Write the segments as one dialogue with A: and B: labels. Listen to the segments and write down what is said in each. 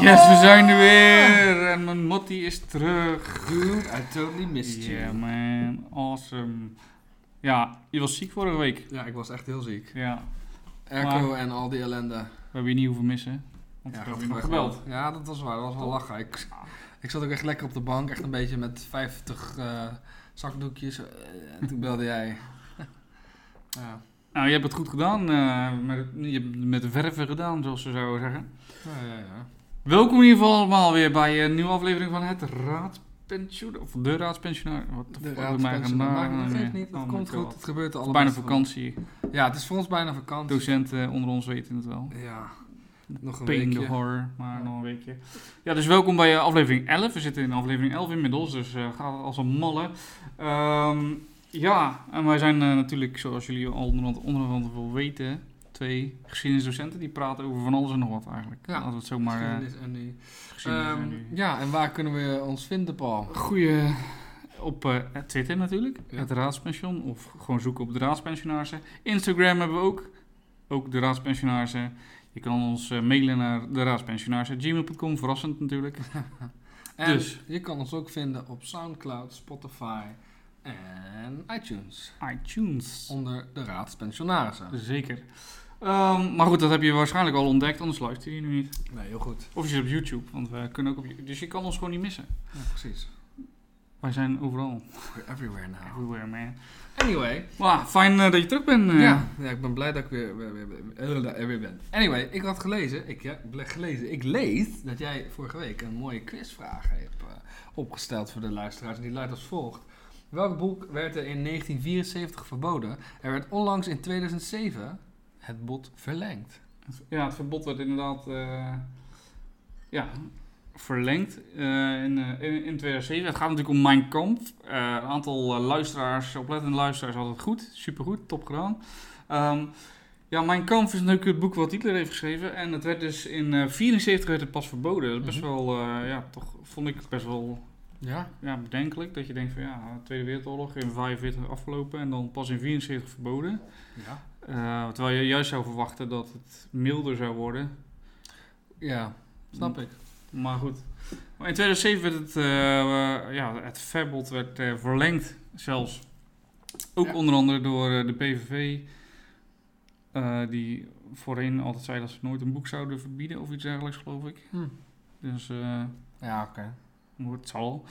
A: Yes, we zijn er weer! En mijn Motti is terug.
B: I totally missed you.
A: Yeah man, awesome. Ja, je was ziek vorige week.
B: Ja, ik was echt heel ziek.
A: Ja,
B: Airco en al die ellende.
A: we hebben je niet hoeven missen. Want
B: Ja,
A: we hebben
B: ik
A: je nog
B: werd
A: gebeld.
B: Ja, dat was waar. Dat was wel lachen. Ik, ik zat ook echt lekker op de bank. Echt een beetje met 50 eh, zakdoekjes. eh, en toen belde jij. ja.
A: Nou, je hebt het goed gedaan. eh, met, je hebt het met de verven gedaan, zoals ze zouden zeggen.
B: Ja, ja, ja.
A: Welkom in ieder geval allemaal weer bij een nieuwe aflevering van het Raadspensionaar. Of de Raadspensionaar. Wat
B: De raadspensen, dat maakt nog
A: eh,
B: steeds niet. Dat komt goed. Het gebeurt
A: Oh, Het
B: allemaal.
A: is bijna vakantie.
B: Ja, het is voor ons bijna vakantie.
A: Docenten eh, onder ons weten het wel.
B: Ja. Nog een
A: Pain the
B: weekje.
A: horror, maar
B: Ja.
A: nog een weekje. Ja, dus welkom bij eh, aflevering 11. We zitten in aflevering 11 inmiddels, dus eh ga als een malle. Ehm, ja, en wij zijn eh, natuurlijk, zoals jullie al onderhand, onderhand wel weten, twee geschiedenisdocenten die praten over van alles en nog wat eigenlijk.
B: Ja.
A: Laten we het zomaar eh
B: Geschiedenis en nu.
A: geschiedenis
B: Ehm,
A: en die-
B: ja, en waar kunnen we ons vinden, Paul?
A: Goeie op eh, Twitter natuurlijk,
B: Ja.
A: het Raadspension. Of gewoon zoeken op de Raadspensionarissen. Instagram hebben we ook, ook de Raadspensionarissen. Je kan ons eh, mailen naar de raadspensionarissen.gmail.com, verrassend natuurlijk.
B: En
A: Dus.
B: je kan ons ook vinden op Soundcloud, Spotify en iTunes.
A: iTunes.
B: Onder de raadspensionarissen.
A: Zeker. Ehm, maar goed, dat heb je waarschijnlijk al ontdekt, anders luister je nu niet.
B: Nee, heel goed.
A: Of je zit op YouTube, want we kunnen ook op YouTube. Dus je kan ons gewoon niet missen.
B: Ja, precies.
A: Wij zijn overal.
B: We're everywhere now.
A: Everywhere, man.
B: Anyway.
A: Maar fijn eh, dat je terug bent. eh.
B: Ja. ja, ik ben blij dat ik weer, weer, weer, weer- er weer ben. Anyway, ik had gelezen, ik heb ble- gelezen, ik lees dat jij vorige week een mooie quizvraag hebt eh, opgesteld voor de luisteraars. En die luidt als volgt. Welk boek werd er in 1974 verboden? Er werd onlangs in 2007 het bod verlengd.
A: Ja, het verbod werd inderdaad eh, ja, verlengd eh, in, eh, in, in 2007. Het gaat natuurlijk om Mijn Kamp. Eh, een aantal eh, luisteraars, oplettende luisteraars, hadden het goed. Supergoed, top gedaan. Ehm, ja, Mijn Kamp is natuurlijk het boek wat Hitler heeft geschreven. En het werd dus in 1974 werd het pas verboden. Dat is best
B: Mhm.
A: wel, eh, ja, toch vond ik het best wel
B: Ja?
A: ja, bedenkelijk. Dat je denkt van ja, Tweede Wereldoorlog in 1945 afgelopen en dan pas in 1974 verboden.
B: Ja.
A: Eh, terwijl je juist zou verwachten dat het milder zou worden.
B: Ja, snap ik.
A: Maar goed. Maar in 2007 werd het, eh, eh, ja, het verbod werd, eh, verlengd zelfs. Ook
B: Ja.
A: onder andere door eh, de PVV. eh, die voorheen altijd zei dat ze nooit een boek zouden verbieden of iets dergelijks, geloof ik.
B: Hm.
A: Dus eh
B: Ja, oké.
A: het zal. wel.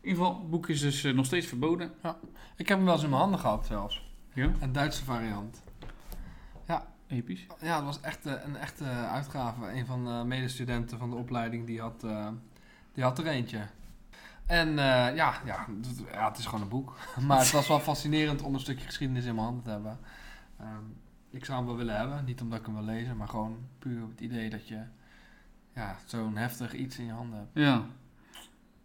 A: In ieder geval, het boek is dus eh, nog steeds verboden.
B: Ik heb hem wel eens in mijn handen gehad zelfs.
A: Ja,
B: Een Duitse variant.
A: episch.
B: Ja, dat was echt eh, een echte uitgave. Een van de medestudenten van de opleiding die had, eh, die had er eentje. En eh, ja, ja, d- ja, het is gewoon een boek. Maar het was wel fascinerend om een stukje geschiedenis in mijn handen te hebben. Ehm, ik zou hem wel willen hebben. Niet omdat ik hem wil lezen, maar gewoon puur op het idee dat je ja, zo'n heftig iets in je handen hebt.
A: Ja.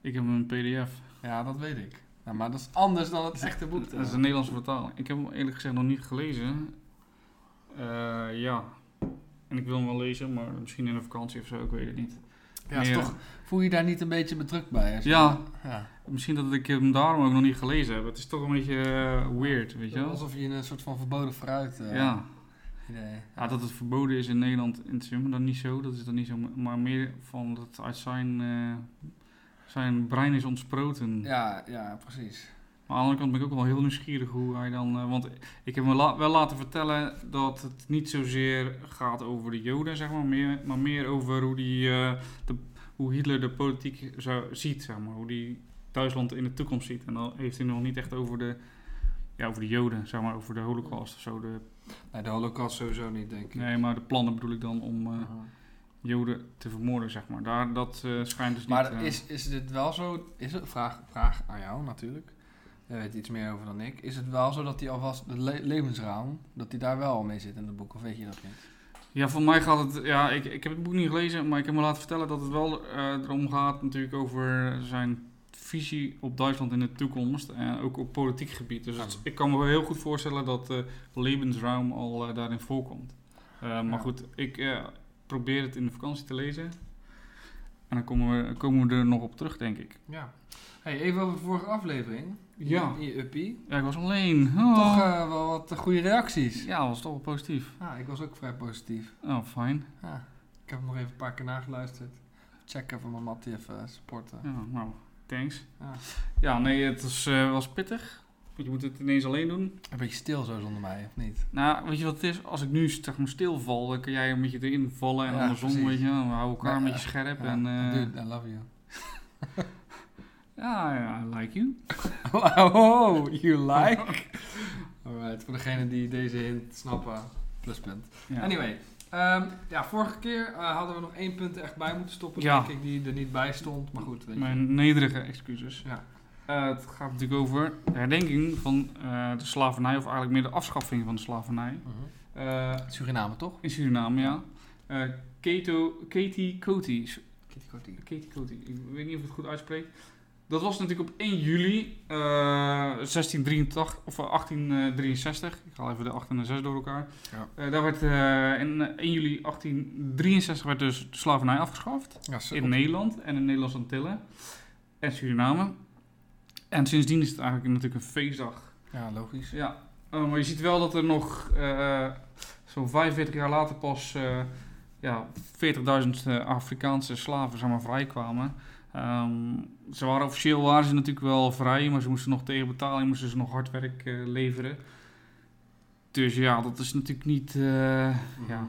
A: Ik heb een pdf.
B: Ja, dat weet ik. Nou, maar dat is anders dan het echte boek.
A: Dat is een Nederlandse vertaling. Ik heb hem eerlijk gezegd nog niet gelezen. Eh, ja. En ik wil hem wel lezen, maar misschien in een vakantie of zo, ik weet het niet.
B: Ja, is
A: Meer-
B: toch, voel je daar niet een beetje bedrukt bij? als je-
A: Ja.
B: ja.
A: Misschien dat ik hem daarom ook nog niet gelezen heb. Het is toch een beetje eh, weird, weet je wel?
B: Alsof je in een soort van verboden fruit eh,
A: Ja.
B: idee.
A: ja. Dat het verboden is in Nederland in het zwemmen, dan niet zo. Dat is dan niet zo. Maar meer van dat uit zijn, eh, zijn brein is ontsproten.
B: Ja, ja, precies.
A: Maar aan de andere kant ben ik ook wel heel nieuwsgierig hoe hij dan. eh, want ik heb me la- wel laten vertellen dat het niet zozeer gaat over de Joden, zeg maar, meer, maar meer over hoe, die, eh, de, hoe Hitler de politiek zou, ziet, zeg maar, hoe die Duitsland in de toekomst ziet. En dan heeft hij nog niet echt over de, ja, over de Joden, zeg maar, over de Holocaust of zo. De,
B: Nee, de holocaust sowieso niet, denk ik.
A: nee, maar de plannen bedoel ik dan om eh,
B: Mhm.
A: Joden te vermoorden, zeg maar. Daar, dat eh, schijnt dus
B: maar
A: niet. eh,
B: is, is dit wel zo... Is het, vraag, vraag aan jou natuurlijk. Jij weet iets meer over dan ik. Is het wel zo dat die alvast de le- levensraam, dat die daar wel al mee zit in het boek? Of weet je dat niet?
A: Ja, voor mij gaat het. Ja, ik, ik heb het boek niet gelezen, maar ik heb me laten vertellen dat het wel eh, erom gaat, natuurlijk, over zijn visie op Duitsland in de toekomst. En ook op politiek gebied. Dus het-
B: Ah.
A: ik kan me wel heel goed voorstellen dat eh Lebensraum al eh, daarin voorkomt. Eh,
B: Ja.
A: Maar goed, ik eh, probeer het in de vakantie te lezen. En dan komen we, komen we er nog op terug, denk ik.
B: Ja. Hey, even over de vorige aflevering.
A: Ja,
B: In je uppie.
A: ja ik was alleen.
B: Toch
A: Oh.
B: eh, wel wat eh, goede reacties. Ah,
A: ja, dat was toch wel positief.
B: Ja, ik was ook vrij positief.
A: Oh, fijn.
B: Ja. Ik heb hem nog even een paar keer nageluisterd. check even mijn Mattie even supporten.
A: Ja, nou, thanks.
B: Ja.
A: Ja, nee, het was, eh, was pittig. Want je moet het ineens alleen doen.
B: Een beetje stil zo zonder mij, of niet?
A: Nou, weet je wat het is? Als ik nu zeg maar stilval, dan kun jij een beetje erin vallen. En
B: Ja,
A: andersom,
B: precies.
A: weet je. Dan houden we elkaar
B: Ja,
A: een beetje scherp.
B: Ja.
A: En, eh,
B: Dude, I love you.
A: ja, ja, I like you.
B: oh, you like? Alright, voor degene die deze hint snappen, pluspunt.
A: Ja.
B: Anyway, ehm, ja, vorige keer eh, hadden we nog één punt er echt bij moeten stoppen,
A: Ja.
B: denk ik, die er niet bij stond. Maar goed, weet je.
A: Mijn nederige excuses.
B: Ja.
A: Eh, het gaat natuurlijk over de herdenking van eh, de slavernij, of eigenlijk meer de afschaffing van de slavernij.
B: Mhm.
A: Eh,
B: Suriname, toch?
A: in Suriname, ja. Eh Kato, Katie Coty.
B: Kitty Kortie.
A: Katie Coty, ik weet niet of ik het goed uitspreek. Dat was natuurlijk op 1 juli eh 1683, of eh, 1863. Ik haal even de 8 en de 6 door elkaar.
B: Ja.
A: Eh, daar werd, eh, in eh, 1 juli 1863 werd dus de slavernij afgeschaft.
B: Ja, ze-
A: In Nederland en in Nederlandse Antillen en Suriname. En sindsdien is het eigenlijk natuurlijk een feestdag.
B: ja, logisch.
A: Ja, eh, maar je ziet wel dat er nog eh, zo'n 45 jaar later pas eh, ja, 40.000 eh, Afrikaanse slaven zeg maar, vrijkwamen. Ehm, ze waren officieel waren ze natuurlijk wel vrij, maar ze moesten nog tegen betaling, moesten ze nog hard werk eh, leveren. Dus ja, dat is natuurlijk niet. eh,
B: Mhm.
A: ja,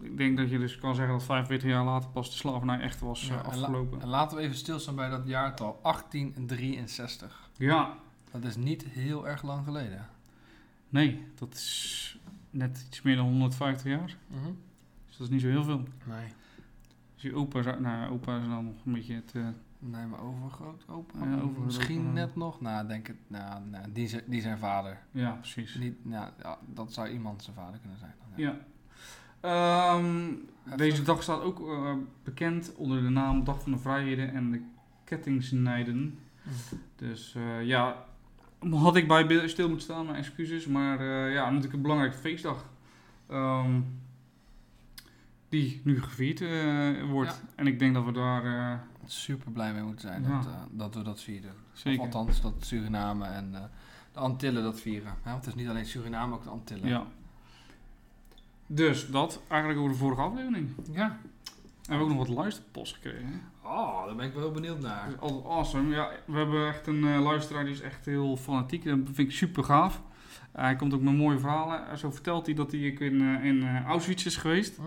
A: ik denk dat je dus kan zeggen dat 45 jaar later pas de slavernij echt was eh,
B: Ja, en la-
A: afgelopen.
B: En laten we even stilstaan bij dat jaartal, 1863.
A: Ja,
B: Dat is niet heel erg lang geleden.
A: nee, dat is net iets meer dan 150 jaar. Dus dat is niet zo heel veel.
B: Nee.
A: Dus je opa, zou- nou, opa is dan nog een beetje het. eh,
B: Nee, maar overgroot opa?
A: Ja, overgrootopa.
B: Misschien net nog. Nou, ik denk het. Nou, nou, die, zijn, die zijn vader.
A: ja, precies.
B: Niet, nou, ja, dat zou iemand zijn vader kunnen zijn. dan,
A: Ja. Ehm,
B: Heftig.
A: deze dag staat ook eh, bekend onder de naam Dag van de Vrijheden en de Kettingsnijden. Dus eh, ja, had ik bij bi- stil moeten staan, mijn excuses. Maar eh, ja, natuurlijk een belangrijke feestdag. Ehm, die nu gevierd eh, wordt. En ik denk dat we daar eh,
B: Super blij mee moeten zijn
A: Ja.
B: dat, eh, dat we dat vieren. Of
A: zeker.
B: althans, dat Suriname en eh, de Antillen dat vieren. Hè, want het is niet alleen Suriname, ook de Antillen.
A: Ja. Dus dat eigenlijk over de vorige aflevering.
B: ja.
A: En we hebben ook nog wat luisterpost gekregen. hè?
B: Oh, daar ben ik wel heel benieuwd naar.
A: Dat is altijd awesome. Ja, we hebben echt een eh, luisteraar die is echt heel fanatiek. Dat vind ik super gaaf. Eh, hij komt ook met mooie verhalen. Eh, zo vertelt hij dat hij ook in, eh, in eh, Auschwitz is geweest.
B: Oh.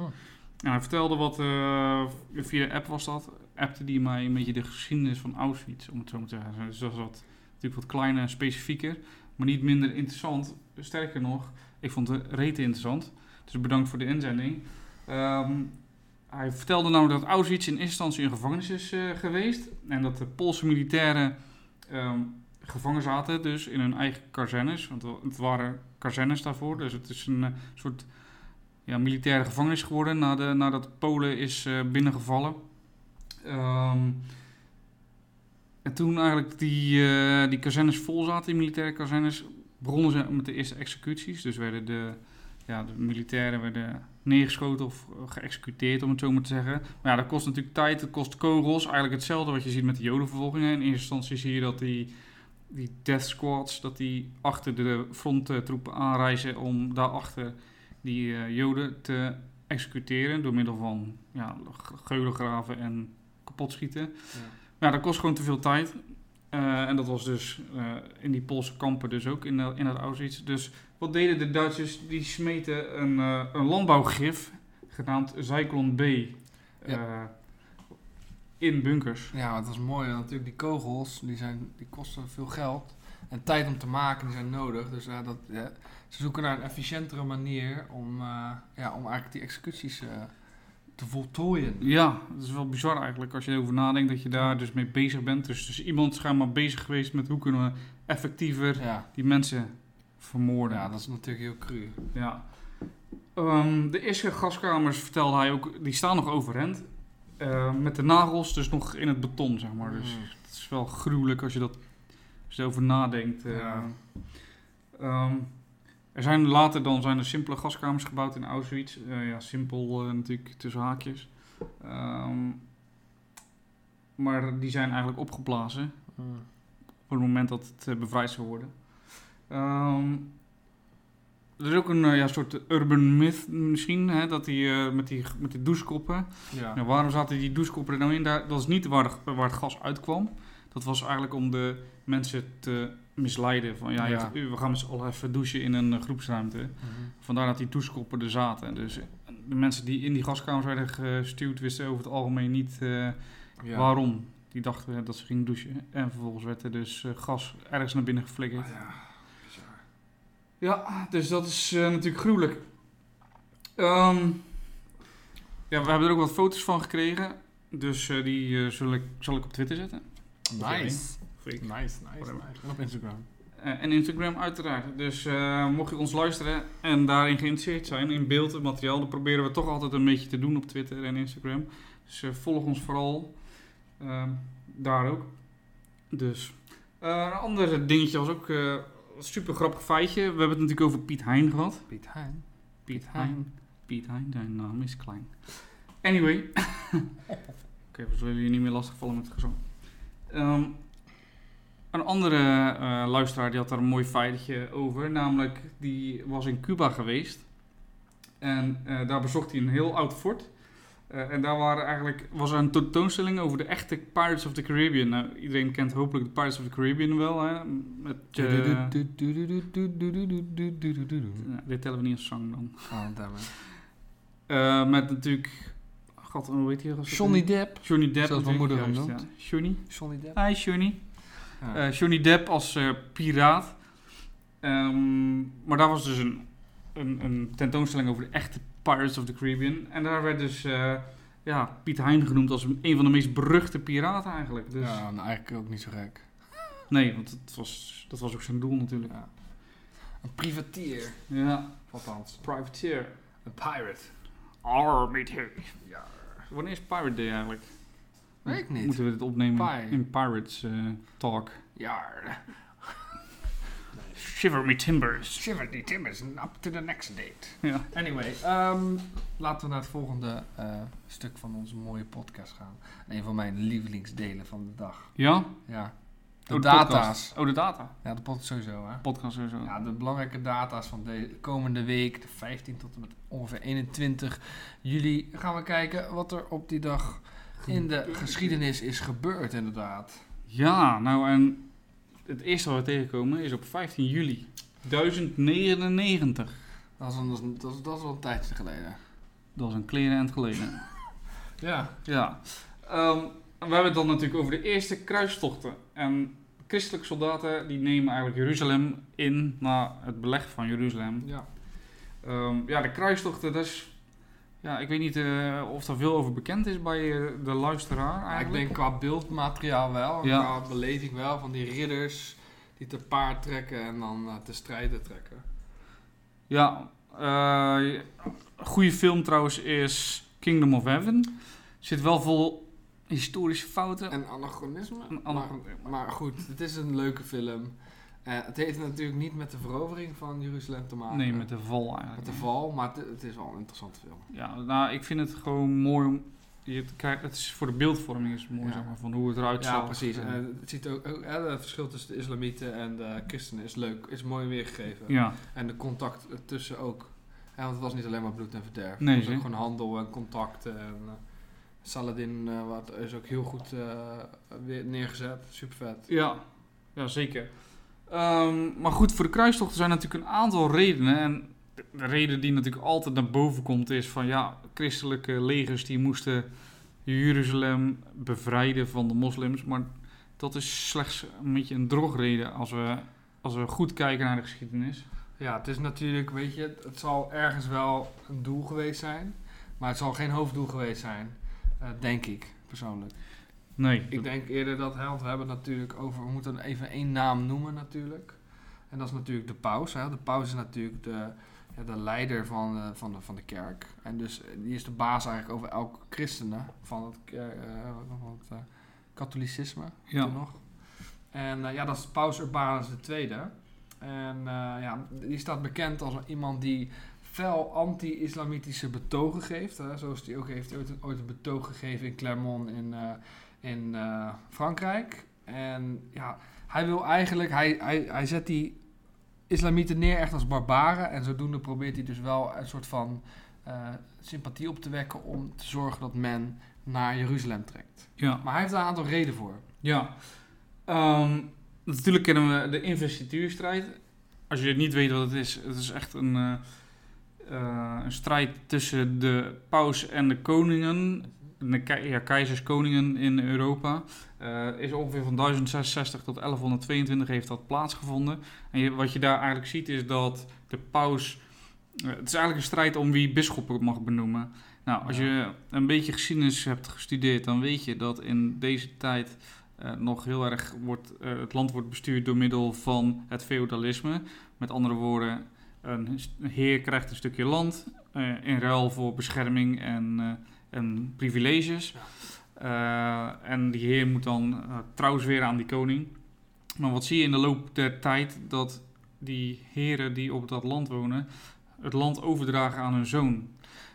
A: En hij vertelde wat, eh, via de app was dat, appte die mij een beetje de geschiedenis van Auschwitz, om het zo maar te zeggen. Dus dat is wat, natuurlijk wat kleiner en specifieker, maar niet minder interessant. Sterker nog, ik vond het rete interessant. Dus bedankt voor de inzending. Ehm, hij vertelde namelijk dat Auschwitz in eerste instantie een gevangenis is eh, geweest. En dat de Poolse militairen ehm, gevangen zaten, dus in hun eigen kazernes. Want het waren kazernes daarvoor, dus het is een eh, soort ja, militaire gevangenis geworden na de, nadat Polen is eh, binnengevallen. Ehm, en toen eigenlijk die, eh, die kazernes vol zaten, die militaire kazernes, begonnen ze met de eerste executies. Dus werden de, ja, de militairen werden neergeschoten of eh, geëxecuteerd, om het zo maar te zeggen. Maar ja, dat kost natuurlijk tijd, dat kost kogels. Eigenlijk hetzelfde wat je ziet met de jodenvervolgingen. In eerste instantie zie je dat die, die death squads, dat die achter de fronttroepen aanreizen om daarachter die eh, Joden te executeren door middel van ja, g- geulen graven en kapotschieten. Maar ja, dat kost gewoon te veel tijd. Eh, en dat was dus eh, in die Poolse kampen dus ook in, dat- in dat Auschwitz. Dus wat deden de Duitsers? Die smeten een, eh, een landbouwgif genaamd Zyklon B eh, in bunkers.
B: Ja, het was mooi. want Natuurlijk, die kogels die zijn, die kosten veel geld. En tijd om te maken, die zijn nodig. Dus ja, dat, ja, ze zoeken naar een efficiëntere manier om, eh, ja, om eigenlijk die executies eh, te voltooien.
A: Ja, dat is wel bizar eigenlijk als je erover nadenkt dat je daar dus mee bezig bent. Dus, dus iemand is schijnbaar bezig geweest met hoe kunnen we effectiever
B: Ja,
A: die mensen vermoorden.
B: ja dat is natuurlijk heel cru.
A: Ja. Ehm, de eerste gaskamers, vertelde hij ook, die staan nog overeind. Eh, met de nagels dus nog in het beton, zeg maar. Dus
B: Mm.
A: het is wel gruwelijk als je, dat, als je erover nadenkt. eh.
B: Ja.
A: Ehm, er zijn later dan zijn er simpele gaskamers gebouwd in Auschwitz. Eh, ja, simpel eh, natuurlijk, tussen haakjes. Ehm, maar die zijn eigenlijk opgeblazen
B: Mm.
A: op het moment dat het eh, bevrijd zou worden. Ehm, Er is ook een eh, ja, soort urban myth misschien, hè, dat die, eh, met, die, met die douchekoppen.
B: Ja.
A: Nou, waarom zaten die douchekoppen er nou in? Daar, dat is niet waar, de- waar het gas uitkwam. Dat was eigenlijk om de mensen te misleiden. Van ja, je
B: Ja.
A: hebt- we gaan met z'n allen even douchen in een eh, groepsruimte.
B: Mhm.
A: Vandaar dat die douchekoppen er zaten. Dus eh, de mensen die in die gaskamers werden gestuurd, wisten over het algemeen niet eh,
B: Ja.
A: waarom. Die dachten eh, dat ze gingen douchen. En vervolgens werd er dus eh, gas ergens naar binnen geflikkerd.
B: Ah, Ja, bizar.
A: Ja, dus dat is eh, natuurlijk gruwelijk. Ehm, ja, we hebben er ook wat foto's van gekregen. Dus eh, die eh, zal, ik, zal ik op Twitter zetten.
B: Nice.
A: Of ik.
B: Nice, nice,
A: Whatever.
B: nice. En op Instagram.
A: Eh, en Instagram uiteraard. Dus eh, mocht je ons luisteren en daarin geïnteresseerd zijn, in beeld en materiaal, dan proberen we toch altijd een beetje te doen op Twitter en Instagram. Dus eh, volg ons vooral ehm, daar ook. Dus Eh, een ander dingetje was ook eh, een super grappig feitje. We hebben het natuurlijk over Piet Hein gehad.
B: Piet Hein.
A: Piet
B: Piet
A: Hein. Piet Hein, zijn naam is klein. Anyway. Oké, we zullen jullie niet meer lastigvallen met het gezang. Ehm, een andere eh, luisteraar die had daar een mooi feitje over. Namelijk, die was in Cuba geweest. En eh, daar bezocht hij een heel oud fort. Eh, en daar waren eigenlijk, was er een tentoonstelling over de echte Pirates of the Caribbean. Nou, iedereen kent hopelijk de Pirates of the Caribbean wel. Hè? Met, eh,
B: Oh,
A: nou, dit tellen we niet als zang dan.
B: damn it.
A: Eh, met natuurlijk. God, hoe heet hij?
B: Johnny Depp.
A: Johnny Depp.
B: Zoals mijn moeder hem
A: natuurlijk,
B: noemt.
A: ja. Johnny.
B: Johnny Depp.
A: Hi, Johnny.
B: Ja.
A: Eh, Johnny Depp als eh, piraat. Ehm, maar daar was dus een, een, een tentoonstelling over de echte Pirates of the Caribbean. En daar werd dus eh, ja, Piet Hein genoemd als een van de meest beruchte piraten eigenlijk. Dus,
B: Ja, nou, eigenlijk ook niet zo gek.
A: Nee, want het was, dat was ook zijn doel natuurlijk.
B: Ja. Een privatier.
A: Ja,
B: Althans,
A: privateer.
B: een pirate.
A: Arr, meet here.
B: Ja.
A: Wanneer is Pirate Day eigenlijk?
B: Weet ik niet.
A: Moeten we dit opnemen
B: Pi.
A: in Pirates eh, Talk?
B: Ja.
A: Shiver me timbers.
B: Shiver die timbers, up to the next date.
A: Ja.
B: Anyway, ehm, laten we naar het volgende eh, stuk van onze mooie podcast gaan. Een van mijn lievelingsdelen van de dag.
A: Ja?
B: Ja. De
A: Oh,
B: data's.
A: podcast. Oh, de data.
B: Ja, de podcast sowieso, hè.
A: Podcast sowieso.
B: Ja, de belangrijke data's van de komende week, de 15 tot en met ongeveer 21 juli, gaan we kijken wat er op die dag in de geschiedenis is gebeurd, inderdaad.
A: Ja, nou en het eerste wat we tegenkomen is op 15 juli 1099.
B: Dat is, een, dat, is, dat, is, dat is wel een tijdje geleden.
A: Dat is een kleren en geleden.
B: Ja.
A: ja. Ehm, we hebben het dan natuurlijk over de eerste kruistochten. En christelijke soldaten die nemen eigenlijk Jeruzalem in na het beleg van Jeruzalem.
B: Ja.
A: Ehm, ja, de kruistochten, dat is... Ja, ik weet niet eh, of daar veel over bekend is bij eh, de luisteraar
B: ik
A: eigenlijk.
B: denk qua beeldmateriaal wel, en
A: Ja.
B: qua beleving wel, van die ridders die te paard trekken en dan eh, te strijden trekken.
A: Ja, eh, een goede film trouwens is Kingdom of Heaven. Zit wel vol historische fouten.
B: En anachronisme.
A: Een anachronisme.
B: Maar, maar goed, het is een leuke film. Eh, het heeft natuurlijk niet met de verovering van Jeruzalem te maken.
A: nee, met de val
B: Met
A: eigenlijk.
B: de val, maar het, het is wel een interessante film.
A: Ja, nou, ik vind het gewoon mooi om... Je te kijken, het is voor de beeldvorming is het mooi,
B: Ja.
A: zeg maar, van hoe het eruit
B: ja,
A: zag.
B: precies. Eh,
A: En-
B: En het ziet ook, ook, hè, het verschil tussen de islamieten en de christenen is leuk, is mooi weergegeven.
A: ja,
B: En de contact tussen ook. Hè, want het was niet alleen maar bloed en verderf.
A: Nee,
B: het was ook
A: zeker.
B: gewoon handel en contacten. En, eh, Saladin eh, wat, is ook heel goed eh, weer neergezet. Super vet.
A: Ja, ja zeker. Ehm, maar goed, voor de kruistochten zijn natuurlijk een aantal redenen. En de- de reden die natuurlijk altijd naar boven komt is van ja, christelijke legers die moesten Jeruzalem bevrijden van de moslims. Maar dat is slechts een beetje een drogreden als we, als we goed kijken naar de geschiedenis.
B: Ja, het is natuurlijk, weet je, het, het zal ergens wel een doel geweest zijn. Maar het zal geen hoofddoel geweest zijn, eh, denk ik persoonlijk.
A: Nee,
B: Ik denk eerder dat, hè, want we hebben het natuurlijk over, we moeten even één naam noemen natuurlijk. En dat is natuurlijk de paus. Hè. De paus is natuurlijk de, ja, de leider van, eh, van, de, van de kerk. En dus eh, die is de baas eigenlijk over elke christenen van het, ker- eh, van het eh, katholicisme
A: ja.
B: toen nog. En eh, ja, dat is Paus Urbanus II. En eh, ja, die staat bekend als iemand die fel anti-islamitische betogen geeft. Hè. Zoals die ook heeft ooit, ooit een betoog gegeven in Clermont in, eh, in eh, Frankrijk. En ja, hij wil eigenlijk, hij, hij, hij zet die islamieten neer echt als barbaren. En zodoende probeert hij dus wel een soort van eh, sympathie op te wekken om te zorgen dat men naar Jeruzalem trekt.
A: Ja.
B: Maar hij heeft daar een aantal redenen voor.
A: Ja. Ehm, natuurlijk kennen we de investituurstrijd. Als je niet weet wat het is, het is echt een, eh, eh, een strijd tussen de paus en de koningen. De kei- ja, keizers, koningen in Europa. Eh, is ongeveer van 1066 tot 1122 heeft dat plaatsgevonden. En je- wat je daar eigenlijk ziet is dat de paus... eh, het is eigenlijk een strijd om wie bisschoppen mag benoemen. Nou, als
B: Ja.
A: je een beetje geschiedenis hebt gestudeerd, dan weet je dat in deze tijd eh, nog heel erg wordt, eh, het land wordt bestuurd door middel van het feodalisme. Met andere woorden, een s- een heer krijgt een stukje land eh, in ruil voor bescherming en, eh, en privileges. Eh, en die heer moet dan eh, trouw zweren aan die koning. Maar wat zie je in de loop der tijd? Dat die heren die op dat land wonen, het land overdragen aan hun zoon.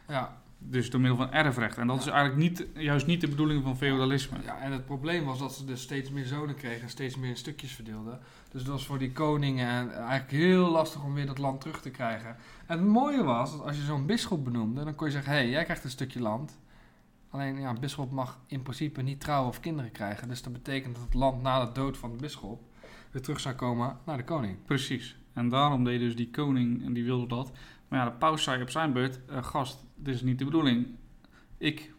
B: Ja,
A: Dus door middel van erfrecht. En dat
B: Ja.
A: is eigenlijk niet, juist niet de bedoeling van feodalisme.
B: ja, en het probleem was dat ze dus steeds meer zonen kregen en steeds meer in stukjes verdeelden. Dus dat was voor die koningen en- eigenlijk heel lastig om weer dat land terug te krijgen. En het mooie was, dat als je zo'n bisschop benoemde, dan kon je zeggen, hé, hey, jij krijgt een stukje land. Alleen, ja, een bisschop mag in principe niet trouwen of kinderen krijgen. Dus dat betekent dat het land na de dood van de bisschop weer terug zou komen naar de koning.
A: Precies. En daarom deed dus die koning, en die wilde dat. Maar ja, de paus zei op zijn beurt, eh, gast, dit is niet de bedoeling. Ik,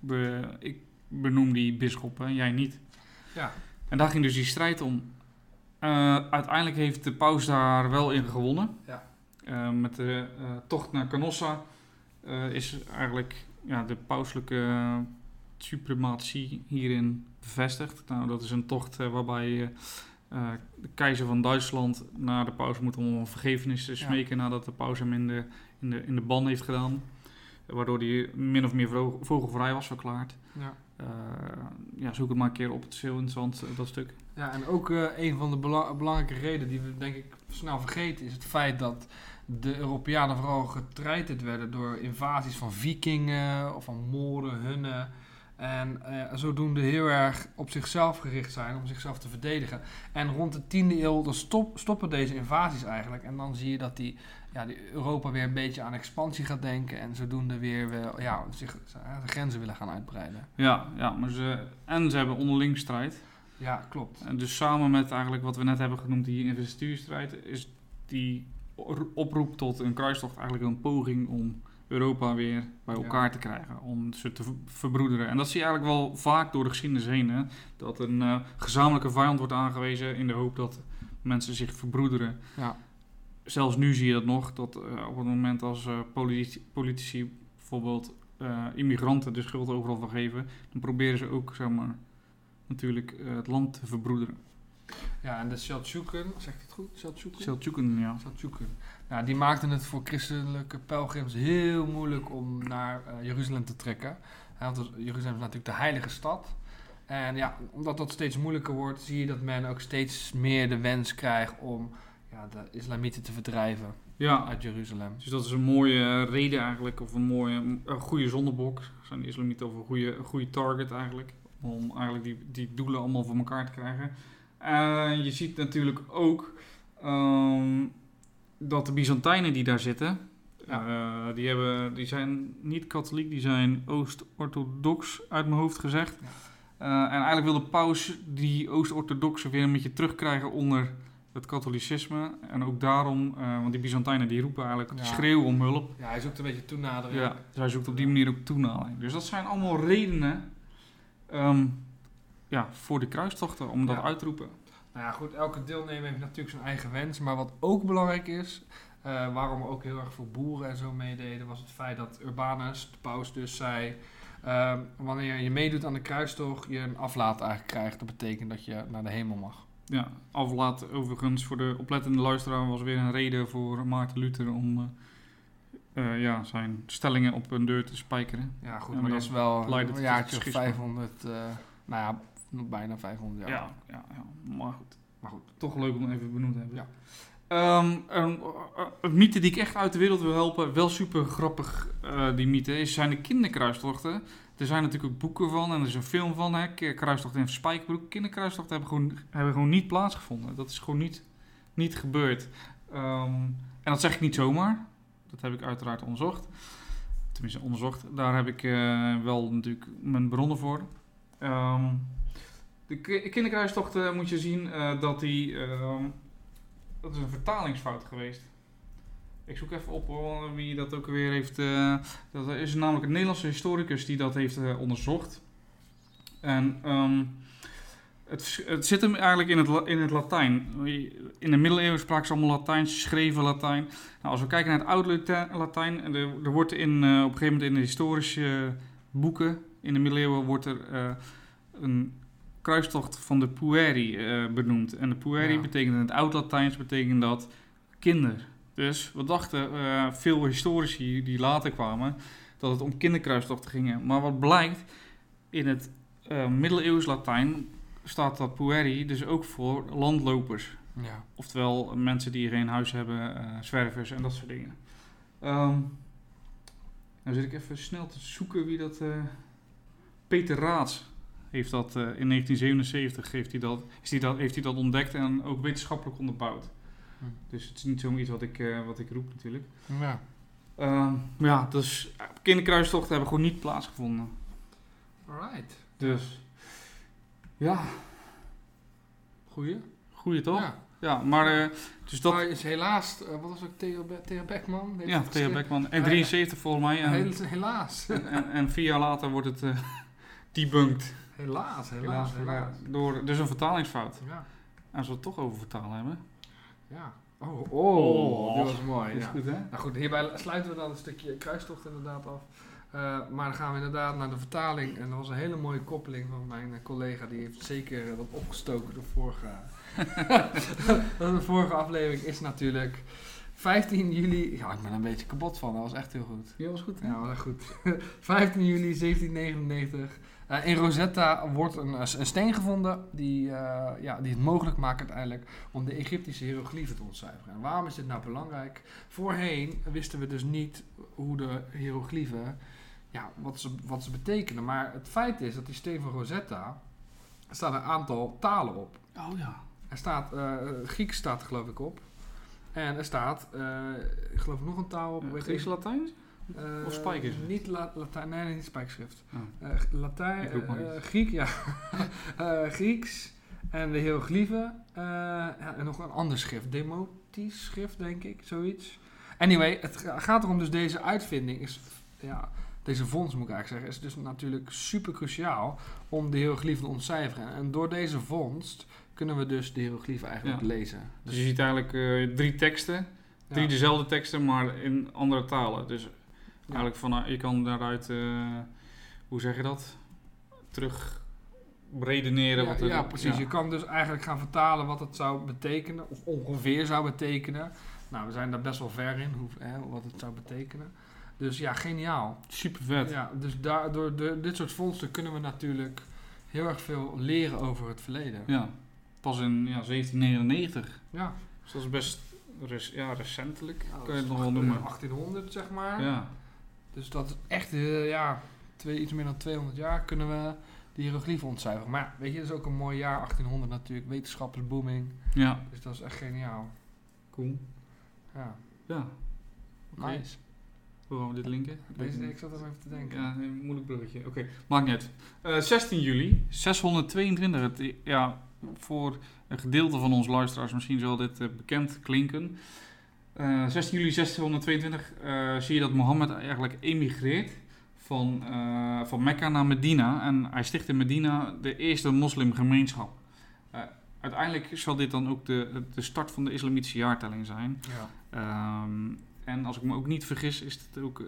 A: be- ik benoem die bisschoppen, jij niet.
B: Ja.
A: En daar ging dus die strijd om. Eh, uiteindelijk heeft de paus daar wel in gewonnen.
B: Ja.
A: Eh, met de eh, tocht naar Canossa eh, is eigenlijk ja, de pauselijke suprematie hierin bevestigd. Nou, dat is een tocht eh, waarbij eh, eh, de keizer van Duitsland naar de paus moet om om vergiffenis te smeken nadat de paus hem in de, in de, in de ban heeft gedaan. Waardoor hij min of meer vro- vogelvrij was verklaard.
B: Ja.
A: Eh, ja, zoek het maar een keer op. Het is heel interessant, eh, dat stuk.
B: Ja, en ook eh, een van de bela- belangrijke redenen die we denk ik snel vergeten is het feit dat de Europeanen vooral getreiterd werden door invasies van vikingen of van moren, hunnen. En eh, zodoende heel erg op zichzelf gericht zijn, om zichzelf te verdedigen. En rond de 10e eeuw dan stop, stoppen deze invasies eigenlijk. En dan zie je dat die, ja, die Europa weer een beetje aan expansie gaat denken. En zodoende weer wel, ja, zich, eh, de grenzen willen gaan uitbreiden.
A: Ja, ja maar ze, en ze hebben onderling strijd.
B: Ja, klopt.
A: En dus samen met eigenlijk wat we net hebben genoemd, die investituurstrijd, is die or- oproep tot een kruistocht eigenlijk een poging om Europa weer bij
B: Ja.
A: elkaar te krijgen. Om ze te v- verbroederen. En dat zie je eigenlijk wel vaak door de geschiedenis heen. Hè? Dat een eh, gezamenlijke vijand wordt aangewezen in de hoop dat mensen zich verbroederen.
B: Ja.
A: Zelfs nu zie je dat nog, dat eh, op het moment als eh, politici, politici bijvoorbeeld eh, immigranten de schuld overal van geven, dan proberen ze ook, zeg maar, natuurlijk eh, het land te verbroederen.
B: Ja, en de Seldsjuken, zegt het goed? Seldsjuken?
A: Seltjuken, ja.
B: Seldsjuken. Nou, die maakten het voor christelijke pelgrims heel moeilijk om naar eh, Jeruzalem te trekken. Hè, want Jeruzalem is natuurlijk de heilige stad. En ja, omdat dat steeds moeilijker wordt, zie je dat men ook steeds meer de wens krijgt om ja, de islamieten te verdrijven
A: Ja,
B: uit Jeruzalem.
A: dus dat is een mooie reden eigenlijk, of een mooie, een goede zondebok. Zijn de islamieten of een goede, een goede target eigenlijk, om eigenlijk die, die doelen allemaal voor elkaar te krijgen. En je ziet natuurlijk ook ehm, dat de Byzantijnen die daar zitten, eh, die, hebben, die zijn niet katholiek, die zijn Oost-orthodox uit mijn hoofd gezegd.
B: Ja.
A: Eh, en eigenlijk wil de paus die Oost-orthodoxen weer een beetje terugkrijgen onder het katholicisme. En ook daarom, eh, want die Byzantijnen die roepen eigenlijk
B: Ja.
A: schreeuw om hulp.
B: Ja, hij zoekt een beetje toenadering.
A: Ja, dus hij zoekt op die manier ook toenadering. Dus dat zijn allemaal redenen ehm, ja, voor de kruistochten om dat
B: Ja.
A: uit te roepen.
B: Nou ja, goed, elke deelnemer heeft natuurlijk zijn eigen wens. Maar wat ook belangrijk is, eh, waarom er ook heel erg veel boeren en zo meededen, was het feit dat Urbanus, de paus dus, zei... ehm, wanneer je meedoet aan de kruistocht, je een aflaat eigenlijk krijgt. Dat betekent dat je naar de hemel mag.
A: Ja, aflaat overigens voor de oplettende luisteraar was weer een reden voor Maarten Luther om eh, eh, ja, zijn stellingen op een deur te spijkeren.
B: Ja, goed,
A: Ja,
B: maar
A: maar
B: dat is wel
A: leidt het
B: een jaartje of
A: tot schisma.
B: 500... eh, nou ja, nog bijna 500
A: Ja,
B: jaar.
A: ja, ja, maar goed.
B: Maar goed.
A: Toch leuk om even benoemd te hebben.
B: Ja.
A: Ehm, een, eh, een mythe die ik echt uit de wereld wil helpen, wel super grappig eh, die mythe, is, zijn de kinderkruistochten. Er zijn natuurlijk ook boeken van en er is een film van, hè, Ki- Kruistocht in Spijkbroek. Kinderkruistochten hebben gewoon, hebben gewoon niet plaatsgevonden. Dat is gewoon niet, niet gebeurd. Ehm, en dat zeg ik niet zomaar. Dat heb ik uiteraard onderzocht. Tenminste, onderzocht. Daar heb ik eh, wel natuurlijk mijn bronnen voor. Ehm, de ki- kinderkruistocht eh, moet je zien eh, dat die... ehm, dat is een vertalingsfout geweest. Ik zoek even op hoor, wie dat ook weer heeft... eh, dat is namelijk een Nederlandse historicus die dat heeft eh, onderzocht. En ehm, het, vers- het zit hem eigenlijk in het, La- in het Latijn. In de middeleeuwen spraken ze allemaal Latijn, ze schreven Latijn. Nou, als we kijken naar het oude Lata- Latijn, en er, er wordt in, eh, op een gegeven moment in de historische boeken in de middeleeuwen wordt er eh, een kruistocht van de Pueri eh, benoemd. En de Pueri
B: Ja.
A: betekent in het oud-Latijns betekent dat kinder. Dus we dachten, eh, veel historici die later kwamen, dat het om kinderkruistochten gingen. Maar wat blijkt, in het eh, middeleeuws Latijn staat dat pueri dus ook voor landlopers.
B: Ja.
A: Oftewel mensen die geen huis hebben, eh, zwervers en dat soort dingen. Ehm nou zit ik even snel te zoeken wie dat... eh, Peter Raads heeft dat eh, in 1977 heeft hij dat, is die dat, heeft hij dat ontdekt en ook wetenschappelijk onderbouwd.
B: Hm.
A: Dus het is niet zoiets wat ik, eh, wat ik roep natuurlijk.
B: ja.
A: Ehm, maar ja, dus eh, kinderkruistochten hebben gewoon niet plaatsgevonden.
B: Alright.
A: Dus ja,
B: Goeie.
A: goeie toch? Ja,
B: Ja.
A: maar eh, dus dat...
B: Maar is helaas, eh, wat was ook Theo, Be- Theo Beckman? Heeft
A: ja,
B: het
A: Theo
B: geschreven?
A: Beckman. En
B: Ja,
A: 73 volgens mij. En,
B: Hel- Helaas.
A: en, en- en vier jaar later wordt het eh debunked.
B: Helaas, helaas, helaas.
A: Door, dus een vertalingsfout.
B: Ja,
A: En als we het toch over vertalen hebben.
B: ja. Oh, oh,
A: Oh.
B: dit was mooi.
A: is
B: Ja.
A: goed hè?
B: Nou goed, hierbij sluiten we dan een stukje kruistocht inderdaad af. Eh, maar dan gaan we inderdaad naar de vertaling. En dat was een hele mooie koppeling van mijn eh, collega. Die heeft zeker eh, wat opgestoken de vorige, de vorige aflevering. Is natuurlijk 15 juli. Ja, ik ben er een beetje kapot van. Dat was echt heel goed.
A: Ja, was goed hè?
B: Ja, maar goed. 15 juli 1799. Eh, in Rosetta wordt een, een steen gevonden die, eh, ja, die het mogelijk maakt uiteindelijk om de Egyptische hieroglyphen te ontcijferen. En waarom is dit nou belangrijk? Voorheen wisten we dus niet hoe de hieroglyphen, ja, wat ze, wat ze betekenen. Maar het feit is dat die steen van Rosetta, er staan een aantal talen op.
A: Oh ja.
B: Er staat, eh Grieks staat er, geloof ik op. En er staat, eh, ik geloof nog een taal op.
A: Eh,
B: weet ik-
A: Grieks Latijn?
B: eh,
A: Of spijkerschrift?
B: Niet la- Latijn, nee, nee, niet spijkerschrift.
A: Oh.
B: Eh, Latijn,
A: Ik roep maar
B: eh,
A: iets.
B: Griek, ja. Eh, Grieks en de hieroglyphen. eh, ja, en nog een ander schrift, demotisch schrift, denk ik, zoiets. Anyway, het ga- gaat erom dus deze uitvinding is, ja, deze vondst moet ik eigenlijk zeggen, is dus natuurlijk super cruciaal om de hieroglyphen te ontcijferen. En door deze vondst kunnen we dus de hieroglyphen eigenlijk
A: Ja.
B: lezen.
A: Dus je ziet eigenlijk eh, drie teksten. Drie
B: ja.
A: dezelfde teksten, maar in andere talen. Dus eigenlijk van, eh, je kan daaruit, eh, hoe zeg je dat? Terug redeneren.
B: Ja,
A: wat er-
B: ja, precies. Je kan dus eigenlijk gaan vertalen wat het zou betekenen, of ongeveer zou betekenen. Nou, we zijn daar best wel ver in, hoe, hè, wat het zou betekenen. Dus ja, geniaal.
A: Super vet.
B: Ja, dus daardoor, door dit soort vondsten kunnen we natuurlijk heel erg veel leren over het verleden. Ja,
A: Ja, pas in ja, 1799.
B: ja.
A: Dus dat is best rec- ja, recentelijk,
B: Oh, dat
A: kan je
B: is
A: het nog wel
B: acht-
A: noemen.
B: 1800, zeg maar.
A: Ja,
B: Dus dat is echt, eh, ja, twee, iets meer dan 200 jaar kunnen we die hieroglyphen ontcijferen. Maar ja, weet je, dat is ook een mooi jaar, 1800 natuurlijk. Wetenschap is booming,
A: ja.
B: dus dat is echt geniaal.
A: Cool.
B: Ja,
A: Ja, Oké.
B: nice.
A: hoe gaan we dit linken?
B: Deze, ik zat even te denken.
A: Mm. Ja, een moeilijk bruggetje. Oké, maakt niet uit. Eh, 16 juli, 622. Het, ja, voor een gedeelte van ons luisteraars misschien zal dit eh, bekend klinken. Eh, 16 juli 622 eh, zie je dat Mohammed eigenlijk emigreert van, eh, van Mekka naar Medina. En hij sticht in Medina de eerste moslimgemeenschap. Eh, uiteindelijk zal dit dan ook de, de start van de islamitische jaartelling zijn.
B: Ja.
A: Ehm, en als ik me ook niet vergis, is het ook eh,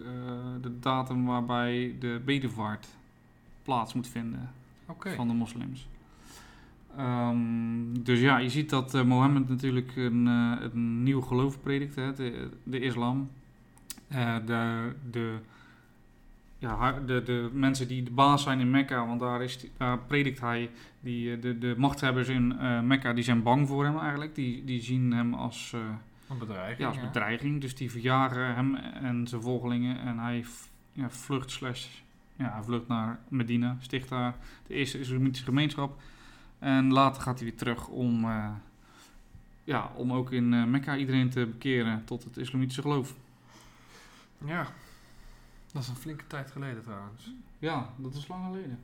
A: de datum waarbij de bedevaart plaats moet vinden
B: Oké.
A: van de moslims. Ehm, dus ja, je ziet dat eh, Mohammed natuurlijk een, eh, een nieuw geloof predikt, hè, de, de islam. Eh, de, de, ja, ha- de, de mensen die de baas zijn in Mekka, want daar, is, die- daar predikt hij. Die, eh, de, de machthebbers in eh, Mekka die zijn bang voor hem eigenlijk. Die, die zien hem als... eh,
B: Een bedrijf.
A: ja, als bedreiging. Dus die verjagen hem en zijn volgelingen. En hij v- ja, vlucht slash... Ja, hij vlucht naar Medina. Sticht daar de eerste islamitische gemeenschap. En later gaat hij weer terug om... eh, ja, om ook in eh, Mekka iedereen te bekeren tot het islamitische geloof.
B: Ja. Dat is een flinke tijd geleden trouwens.
A: Ja, dat is lang geleden.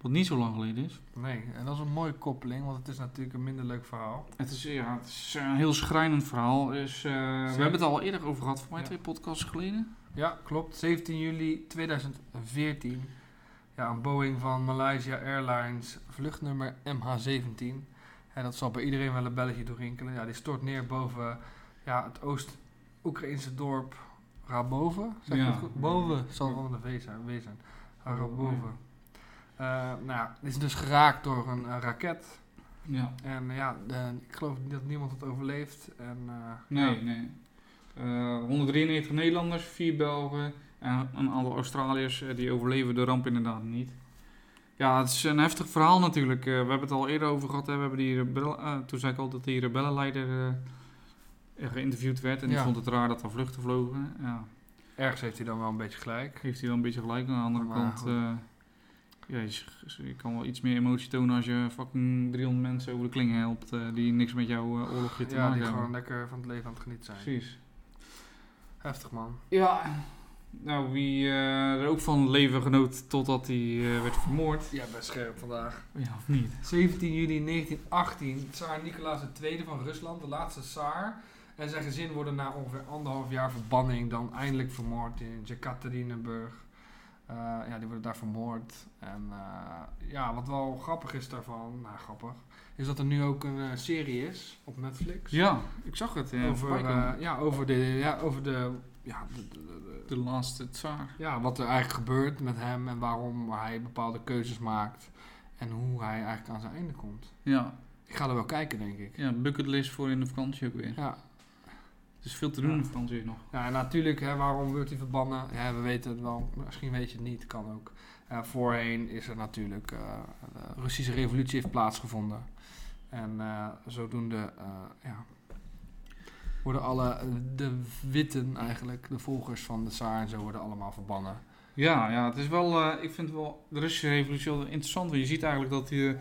A: Wat niet zo lang geleden is.
B: Nee, en dat is een mooie koppeling, want het is natuurlijk een minder leuk verhaal.
A: Het is, ja, het is eh, een heel schrijnend verhaal. Dus, eh, we hebben het al eerder over gehad, voor mij
B: Ja.
A: twee podcasts geleden.
B: Ja, klopt. 17 juli 2014. Ja, een Boeing van Malaysia Airlines, vluchtnummer MH17. En dat zal bij iedereen wel een belletje doorrinkelen. Ja, die stort neer boven ja, het Oost-Oekraïnse dorp Raboven. Zeg je
A: Ja.
B: dat goed? Boven zal wel een V zijn. W zijn. Raboven. Eh, nou ja, het is dus geraakt door een eh, raket.
A: Ja.
B: En ja, de- ik geloof dat niemand het overleeft. En, eh,
A: Nee,
B: ja.
A: nee. Eh, 193 Nederlanders, 4 Belgen en een aantal Australiërs eh, die overleven de ramp inderdaad niet. Ja, het is een heftig verhaal natuurlijk. Eh, we hebben het al eerder over gehad. Hè. We hebben die rebellen, eh, toen zei ik al dat die rebellenleider eh, eh, geïnterviewd werd. En die
B: Ja.
A: vond het raar dat er vluchten vlogen. Ja,
B: Ergens heeft hij dan wel een beetje gelijk.
A: geeft hij wel een beetje gelijk. Aan de andere
B: Maar
A: kant,
B: goed.
A: eh, ja, je, sch- je kan wel iets meer emotie tonen als je fucking 300 mensen over de kling helpt. eh, die niks met jouw eh, oorlogje te
B: Ja,
A: maken
B: die
A: hebben.
B: gewoon lekker van het leven aan het genieten zijn.
A: Precies.
B: Heftig man.
A: Ja. Nou, wie eh, er ook van leven genoot totdat hij eh, werd vermoord.
B: Ja, best scherp vandaag.
A: Ja, of niet?
B: 17 juli 1918, Tsaar Nicolaas II van Rusland, de laatste Tsaar. En zijn gezin worden na ongeveer anderhalf jaar verbanning dan eindelijk vermoord in Jekaterinburg. Eh, ja, die worden daar vermoord. En eh, ja, wat wel grappig is daarvan, nou grappig, is dat er nu ook een eh, serie is op Netflix.
A: Ja, ik zag het. eh,
B: over,
A: voorbij komen.
B: eh, ja, over de, ja, over de, ja, de- de- de,
A: eh, de laatste tsaar.
B: Ja, wat er eigenlijk gebeurt met hem en waarom hij bepaalde keuzes maakt. En hoe hij eigenlijk aan zijn einde komt.
A: Ja.
B: Ik ga er wel kijken, denk ik.
A: ja, bucketlist voor in de vakantie ook weer.
B: Ja,
A: Het is veel te doen
B: Ja.
A: in de vakantie nog.
B: ja en natuurlijk, hè, waarom wordt hij verbannen? Ja, we weten het wel. Misschien weet je het niet, kan ook. Eh, voorheen is er natuurlijk... eh, de Russische revolutie heeft plaatsgevonden. En eh, zodoende eh, ja, worden alle eh, de witten eigenlijk, de volgers van de Tsar en zo, worden allemaal verbannen.
A: Ja, ja, het is wel, eh, ik vind wel de Russische revolutie wel interessant. Want je ziet eigenlijk dat die,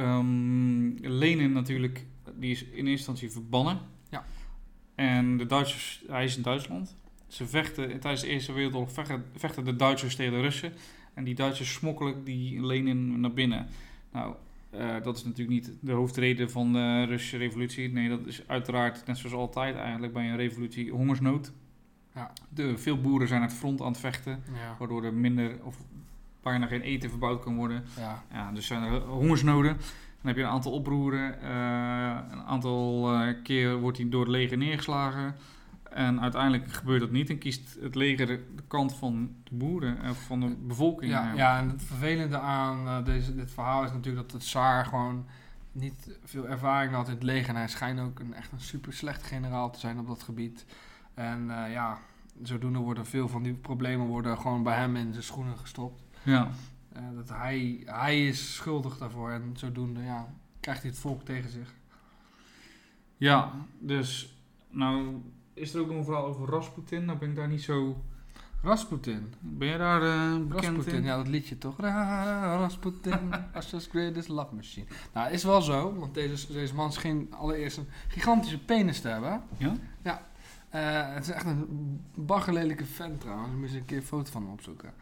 A: ehm Lenin natuurlijk, die is in eerste instantie verbannen.
B: Ja.
A: En de Duitsers, hij is in Duitsland. Ze vechten, tijdens de Eerste Wereldoorlog vechten, vechten de Duitsers tegen de Russen. En die Duitsers smokkelen die Lenin naar binnen. Nou, eh, dat is natuurlijk niet de hoofdreden van de Russische revolutie. Nee, dat is uiteraard, net zoals altijd eigenlijk bij een revolutie, hongersnood.
B: Ja.
A: De, veel boeren zijn aan het front aan het vechten
B: Ja,
A: waardoor er minder of bijna geen eten verbouwd kan worden.
B: ja.
A: Ja, dus zijn er hongersnoden. Dan heb je een aantal oproeren. eh, een aantal eh, keer wordt hij door het leger neergeslagen. En uiteindelijk gebeurt dat niet en kiest het leger de kant van de boeren, eh, van de bevolking. eh.
B: Ja,
A: eigenlijk.
B: ja, en het vervelende aan eh, deze, dit verhaal is natuurlijk dat de Saar gewoon niet veel ervaring had in het leger. En hij schijnt ook een, echt een super slecht generaal te zijn op dat gebied. En eh, ja, zodoende worden veel van die problemen worden gewoon bij hem in zijn schoenen gestopt.
A: ja.
B: Eh, dat hij, hij is schuldig daarvoor en zodoende ja, krijgt hij het volk tegen zich.
A: Ja, dus nou is er ook nog een verhaal over Rasputin. Nou ben ik daar niet zo...
B: Rasputin.
A: Ben jij daar eh, bekend
B: Rasputin,
A: in?
B: ja dat liedje toch? Ra- Rasputin, Russia's greatest love machine. Nou, is wel zo, want deze, deze man scheen allereerst een gigantische penis te hebben.
A: Ja?
B: Ja. Eh, het is echt een baggerlelijke vent trouwens, daar moet je een keer een foto van hem opzoeken.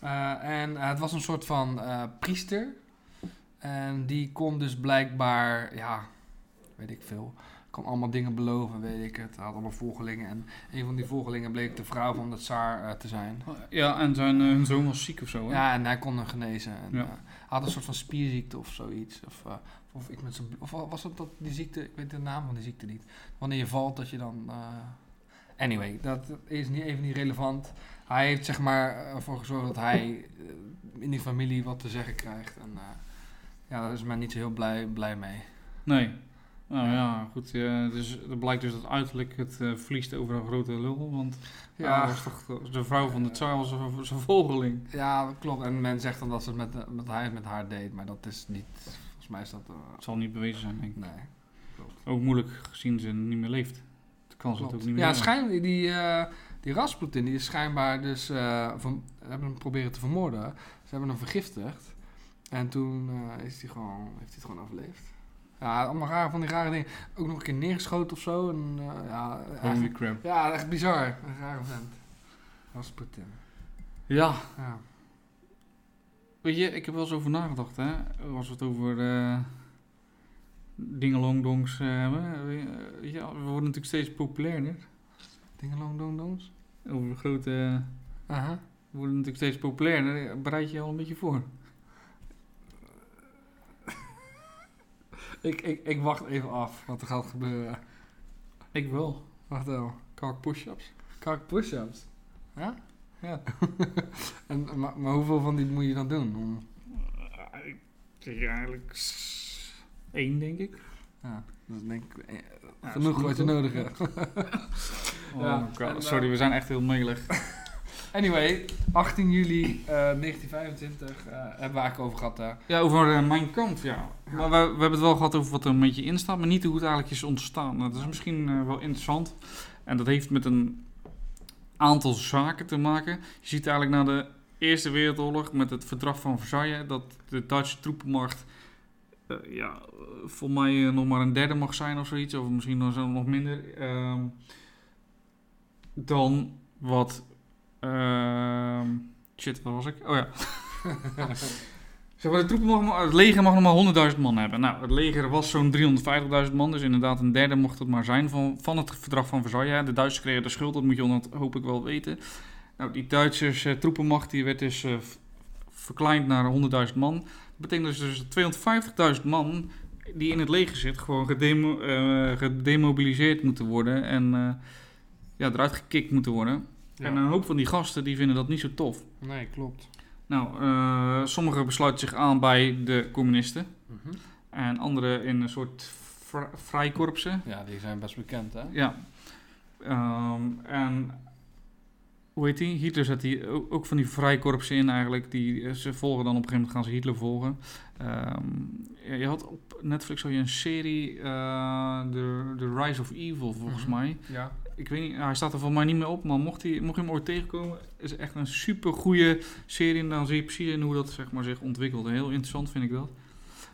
B: Eh, en eh, het was een soort van eh, priester. En die kon dus blijkbaar, ja, weet ik veel, kon allemaal dingen beloven, weet ik het. Hij had allemaal volgelingen en een van die volgelingen bleek de vrouw van de tsaar eh, te zijn.
A: Ja, en zijn eh, hun zoon was ziek of zo. Hè?
B: Ja, en hij kon hem genezen. En,
A: Ja.
B: eh, hij had een soort van spierziekte of zoiets. Of, eh, of, ik met zijn bl- of was het dat die ziekte? Ik weet de naam van die ziekte niet. Wanneer je valt, dat je dan. eh, Anyway, dat is niet, even niet relevant. Hij heeft zeg maar eh, ervoor gezorgd dat hij eh, in die familie wat te zeggen krijgt. En eh, ja, daar is men niet zo heel blij, blij mee.
A: Nee. Nou ja, goed. eh, dus het blijkt dus dat uiterlijk het eh, verliest over een grote lul. Want ja.
B: Ja,
A: was toch de vrouw van de tsaar was een- zijn volgeling.
B: ja, dat klopt. En men zegt dan dat, ze het met, dat hij het met haar deed, maar dat is niet. Volgens mij is dat. eh,
A: Het zal niet bewezen zijn, denk ik.
B: nee.
A: Ook moeilijk gezien ze niet meer leeft. De kans dat
B: Klopt.
A: ook niet meer
B: Ja,
A: hebben.
B: schijn, die, eh, die Rasputin die is schijnbaar dus... eh, verm- hebben hem proberen te vermoorden. Ze hebben hem vergiftigd. En toen eh, is die gewoon, heeft hij het gewoon overleefd. Ja, allemaal rare, van die rare dingen. Ook nog een keer neergeschoten of zo. En, eh, ja, echt,
A: Holy crap.
B: ja, echt bizar. Een rare vent. Rasputin.
A: Ja,
B: Ja.
A: weet je, ik heb wel eens over nagedacht, hè. Als we het over eh dingelongdongs eh, hebben. Eh, ja, we worden natuurlijk steeds populairder.
B: Dingelong dong dongs.
A: Over de grote...
B: Aha.
A: we worden natuurlijk steeds populairder. Bereid je je al een beetje voor.
B: Ik, ik, ik wacht even af wat er gaat gebeuren.
A: Ik wel.
B: Wacht wel.
A: Kalk push-ups.
B: Kak push-ups. Ja?
A: Ja.
B: en, maar, maar hoeveel van die moet je dan doen? Om-
A: Eh, Ik zeg eigenlijk s- één, denk ik.
B: Ja, dat is denk ik eh,
A: Ja,
B: genoeg
A: is
B: wat je
A: goed,
B: nodig hebt.
A: Oh
B: Ja,
A: my god,
B: en, eh,
A: Sorry, we zijn echt heel melig.
B: Anyway, 18 juli eh, 1925 eh, hebben we eigenlijk over gehad daar.
A: Ja, over eh, mijn kant, ja. Maar we, we hebben het wel gehad over wat er een beetje in staat, maar niet hoe het eigenlijk is ontstaan. Dat is misschien eh, wel interessant. En dat heeft met een aantal zaken te maken. Je ziet eigenlijk na de Eerste Wereldoorlog met het verdrag van Versailles dat de Duitse troepenmacht, eh, ja, eh, volgens mij eh, nog maar een derde mag zijn of zoiets, of misschien nog, zo- nog minder, ehm, dan wat. ehm, shit, waar was ik? Oh ja. Zeg maar, de troepen mogen maar- het leger mag nog maar 100.000 man hebben. Nou, het leger was zo'n 350.000 man, dus inderdaad een derde mocht het maar zijn van, van het verdrag van Versailles. De Duitsers kregen de schuld, dat moet je onder, hoop ik wel weten. Nou, die Duitsers eh, troepenmacht die werd dus eh, v- verkleind naar 100.000 man. Dat betekent dus, dus dat 250.000 man die in het leger zit gewoon gedemo, eh, gedemobiliseerd moeten worden en eh, ja, eruit gekikt moeten worden. En een hoop van die gasten die vinden dat niet zo tof.
B: Nee, klopt.
A: Nou, eh, sommigen besluiten zich aan bij de communisten.
B: Mhm.
A: En anderen in een soort vri- vrijkorpsen.
B: Ja, die zijn best bekend, hè?
A: Ja. Ehm, en hoe heet die? Hitler zet die o- ook van die vrijkorpsen in eigenlijk. Die, eh, ze volgen dan op een gegeven moment gaan ze Hitler volgen. Ehm, je had op Netflix al je een serie, eh, The, The Rise of Evil volgens
B: Mhm.
A: mij.
B: Ja.
A: Ik weet niet, nou, hij staat er volgens mij niet meer op, maar mocht, hij, mocht je hem ooit tegenkomen, is echt een super goede serie. En dan zie je precies in hoe dat zeg maar, zich ontwikkelt. Heel interessant vind ik dat.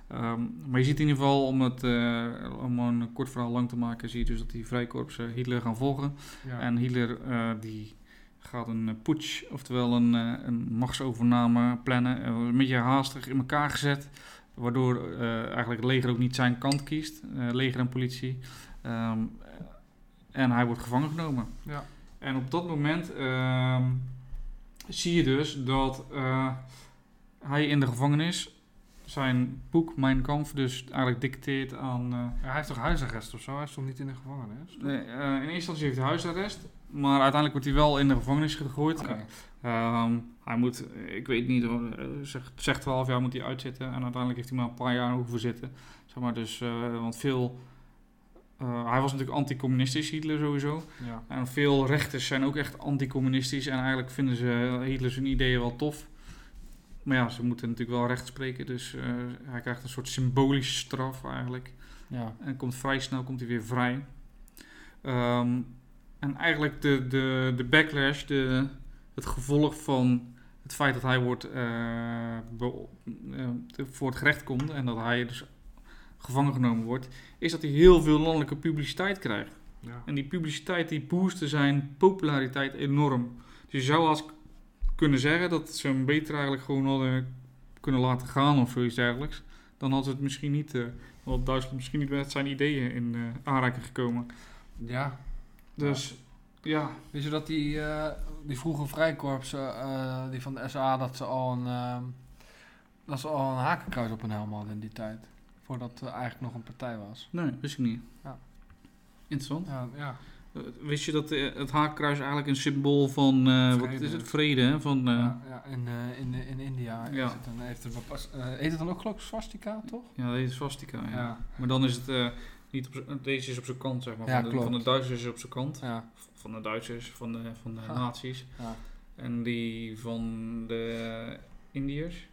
A: Ehm, maar je ziet in ieder geval, om het eh, om een kort verhaal lang te maken, zie je dus dat die vrijkorpsen Hitler gaan volgen.
B: ja.
A: En Hitler eh, die gaat een eh, putsch, oftewel een, eh, een machtsovername plannen. Eh, een beetje haastig in elkaar gezet, waardoor eh, eigenlijk het leger ook niet zijn kant kiest. eh, leger en politie. Ehm, en hij wordt gevangen genomen.
B: Ja.
A: En op dat moment ehm, zie je dus dat eh, hij in de gevangenis zijn boek Mijn Kampf dus eigenlijk dicteert aan... eh,
B: Hij heeft toch huisarrest of zo? Hij stond niet in de gevangenis?
A: Nee, eh, in eerste instantie heeft hij huisarrest, maar uiteindelijk wordt hij wel in de gevangenis gegooid. Ehm, hij moet, eh, ik weet niet, hoor, eh, zeg, zeg 12 jaar moet hij uitzitten en uiteindelijk heeft hij maar een paar jaar hoeven zitten. Zeg maar, dus, eh, want veel, eh, hij was natuurlijk anticommunistisch, Hitler sowieso.
B: Ja.
A: En veel rechters zijn ook echt anticommunistisch en eigenlijk vinden ze Hitler zijn ideeën wel tof. Maar ja, ze moeten natuurlijk wel recht spreken, dus eh, hij krijgt een soort symbolische straf eigenlijk.
B: Ja.
A: En komt vrij snel komt hij weer vrij. Ehm, en eigenlijk de, de, de backlash, de, het gevolg van het feit dat hij wordt, eh, be- eh, te- voor het gerecht komt en dat hij dus gevangen genomen wordt, is dat hij heel veel landelijke publiciteit krijgt.
B: Ja.
A: En die publiciteit die boostte zijn populariteit enorm. Dus je zou als k- kunnen zeggen dat ze hem beter eigenlijk gewoon hadden kunnen laten gaan of zoiets dergelijks. Dan had het misschien niet, eh had Duitsland misschien niet met zijn ideeën in eh, aanraking gekomen.
B: ja.
A: Dus ja,
B: Wist je dat die, eh, die vroege vrijkorpsen, eh, die van de SA, dat ze al een, eh, dat ze al een hakenkruis op hun helm hadden in die tijd? Voordat er eigenlijk nog een partij was.
A: nee, wist ik niet.
B: Ja.
A: Interessant.
B: Ja, ja.
A: Eh, wist je dat eh, het haakkruis eigenlijk een symbool van, eh, wat
B: Vrede.
A: is het, vrede, hè? Van, eh,
B: ja, ja, in, eh, in, in India is
A: Ja.
B: het een, heeft het, een bepas- eh, heet het dan ook geloof ik swastika, toch?
A: ja, dat heet swastika. Ja. Maar dan is het eh, niet op z'n- deze is op zijn kant, zeg maar.
B: Ja,
A: van, de,
B: klopt.
A: van de Duitsers is op zijn kant.
B: Ja,
A: van de Duitsers, van de, van de
B: Ah.
A: nazi's.
B: ja.
A: En die van de Indiërs.